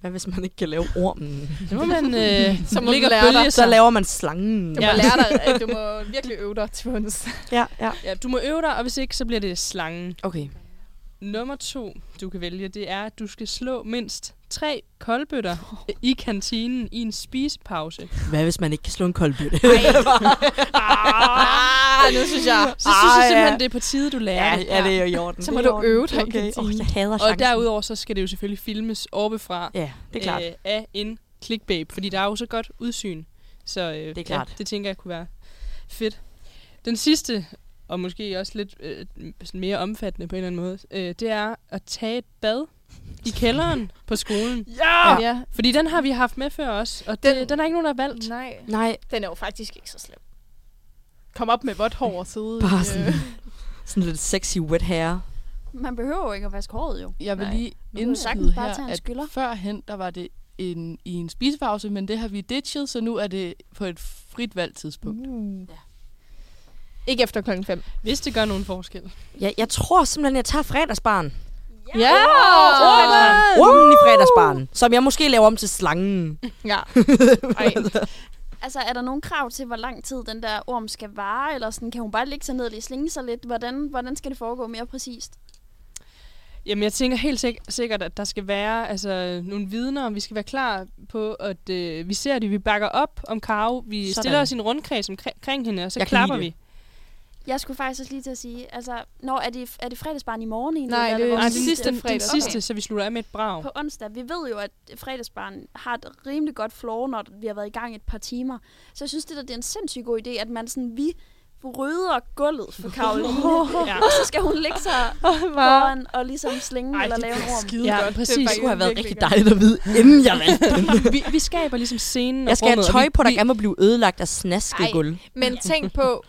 Hvad hvis man ikke kan lave Mm. ormen? Så Mm. må [LAUGHS] man øh, Så må du ligge og lære dig. bølge Så sig. laver man slangen. Du Ja. må lære [LAUGHS] dig, at du må virkelig øve dig til bunds. Ja, ja. Ja, du må øve dig, og hvis ikke, så bliver det slangen. Okay. Nummer to, du kan vælge, det er, at du skal slå mindst tre koldbøtter i kantinen i en spisepause. [LAUGHS] Hvad hvis man ikke kan slå en koldbøtte? Ah, nu synes jeg. Så synes jeg Ej, simpelthen, ja. det er på tide, du lærer ja, det. ja, det er jo i orden. Så må Det er du i øve orden. dig i Okay, kantinen. åh, jeg hader Og chancen. derudover så skal det jo selvfølgelig filmes oppefra Ja, det er klart. Øh, af en clickbait, fordi der er jo så godt udsyn. Så øh, Det er klart. Ja, det tænker jeg kunne være fedt. Den sidste, og måske også lidt øh, sådan mere omfattende på en eller anden måde, øh, det er at tage et bad i kælderen på [LAUGHS] skolen. Ja! Ja. Fordi den har vi haft med før også, og den, Den- det, den er ikke nogen, der har valgt. Nej. Nej, Den er jo faktisk ikke så slem. Kom op med vådt hår og sidde. [LAUGHS] bare i, øh, sådan, sådan lidt sexy wet hair. Man behøver jo ikke at vaske håret, jo. Jeg vil Nej. lige Nu kan du indskyde sagtens bare tage her, en at skyller. førhen, der var det en, i en spisepause, men det har vi ditchet, så nu er det på et frit valgt tidspunkt. Mm. Ikke efter klokken 5. Hvis det gør nogen forskel. Ja, jeg tror simpelthen, jeg tager fredagsbaren. Ja! Ormen i fredagsbaren, som jeg måske laver om til slangen. [LAUGHS] Ja. Ej, Altså, er der nogen krav til, hvor lang tid den der orm skal vare? Eller sådan, kan hun bare ligge sig ned og lige slinge sig lidt? Hvordan, hvordan skal det foregå mere præcist? Jamen, jeg tænker helt sik- sikkert, at der skal være altså, nogle vidner, og vi skal være klar på, at øh, vi ser det, vi bakker op om Karo, vi Sådan. Sådan. stiller os i en rundkreds omkring omkring hende, og så Jeg kan klapper lide vi. det. Jeg skulle faktisk også lige til at sige, altså, når er det, er det fredagsbarn i morgen egentlig? Nej, eller det er hvor- Nej, Den den sidste sidste, den fredag. sidste så vi slutter af med et brag. På onsdag, vi ved jo, at fredagsbarn har et rimelig godt floor, når vi har været i gang et par timer. Så jeg synes, det, der, det er en sindssygt god idé, at man sådan, vi rydder gulvet [LAUGHS] for Karoline. Ja. Og så skal hun ligge sig foran og ligesom slinge Ej, eller det lave en bliver orm. skide Ja, godt. præcis. Det Det er Det skulle have været virkelig rigtig dejligt at vide, inden jeg valgte [LAUGHS] den. vi, vi skaber ligesom scenen Jeg og skal have rummet, og tøj vi- på, der vi- gerne må blive ødelagt af snasket Ej. guld. Men tænk på,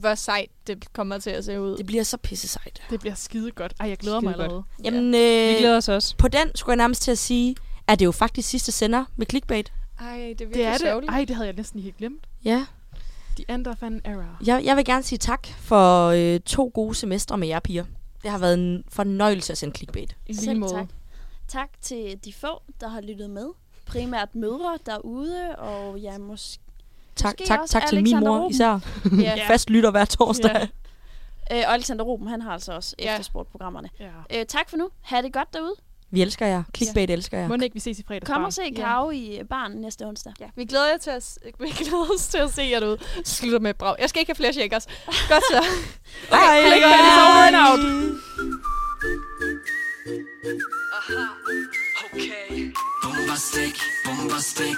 hvor sejt det kommer til at se ud. Det bliver så pisse sejt. Det bliver skide godt. Ej, jeg glæder mig Skide godt. allerede. Jamen, Vi øh, glæder os også. på den skulle jeg nærmest til at sige, at det er jo faktisk sidste sender med clickbait. Ej, det er virkelig Det er det. sørgeligt. Ej, det havde jeg næsten helt glemt. Ja, The end of an era. jeg, jeg vil gerne sige tak for øh, to gode semestre med jer piger. Det har været en fornøjelse at sende clickbait. I lige Selv måde. tak. Tak til de få, der har lyttet med. Primært mødre derude, og ja, måske... Tak, Måske tak, også tak til min Alexander mor Ruben. især. Ja. [LAUGHS] Fast lytter hver torsdag. Ja. Øh, og Alexander Ruben, han har altså også Ja. efterspurgt programmerne. Ja. Øh, tak for nu. Ha' det godt derude. Vi elsker jer. Clickbait elsker jer. Må ikke, vi ses i fredags. Kom og se Karo i øh, baren næste onsdag. Ja, vi glæder, jer til at, s- vi glæder os til at se jer derude. Slutter med et brag. Jeg skal ikke have flere shakers. Godt så. Hej! Hej! Bombastic, bombastic.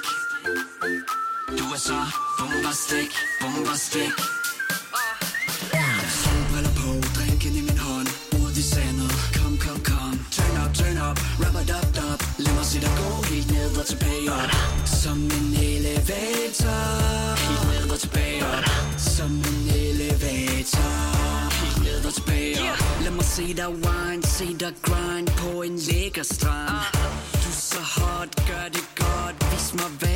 Du er så bombastic, bombastic. Solbriller på, drinken i min hånd, ud i sandet. Kom, kom, kom, turn up, turn up, rub it up, up. Lad mig se dig gå helt ned og tilbage op. Som en elevator. Helt ned og tilbage op. Som en elevator. Helt ned og tilbage op. Lad mig se dig wine, se dig grind på en lækker strand. Du er så hot, gør det godt, vis mig hvad Uh.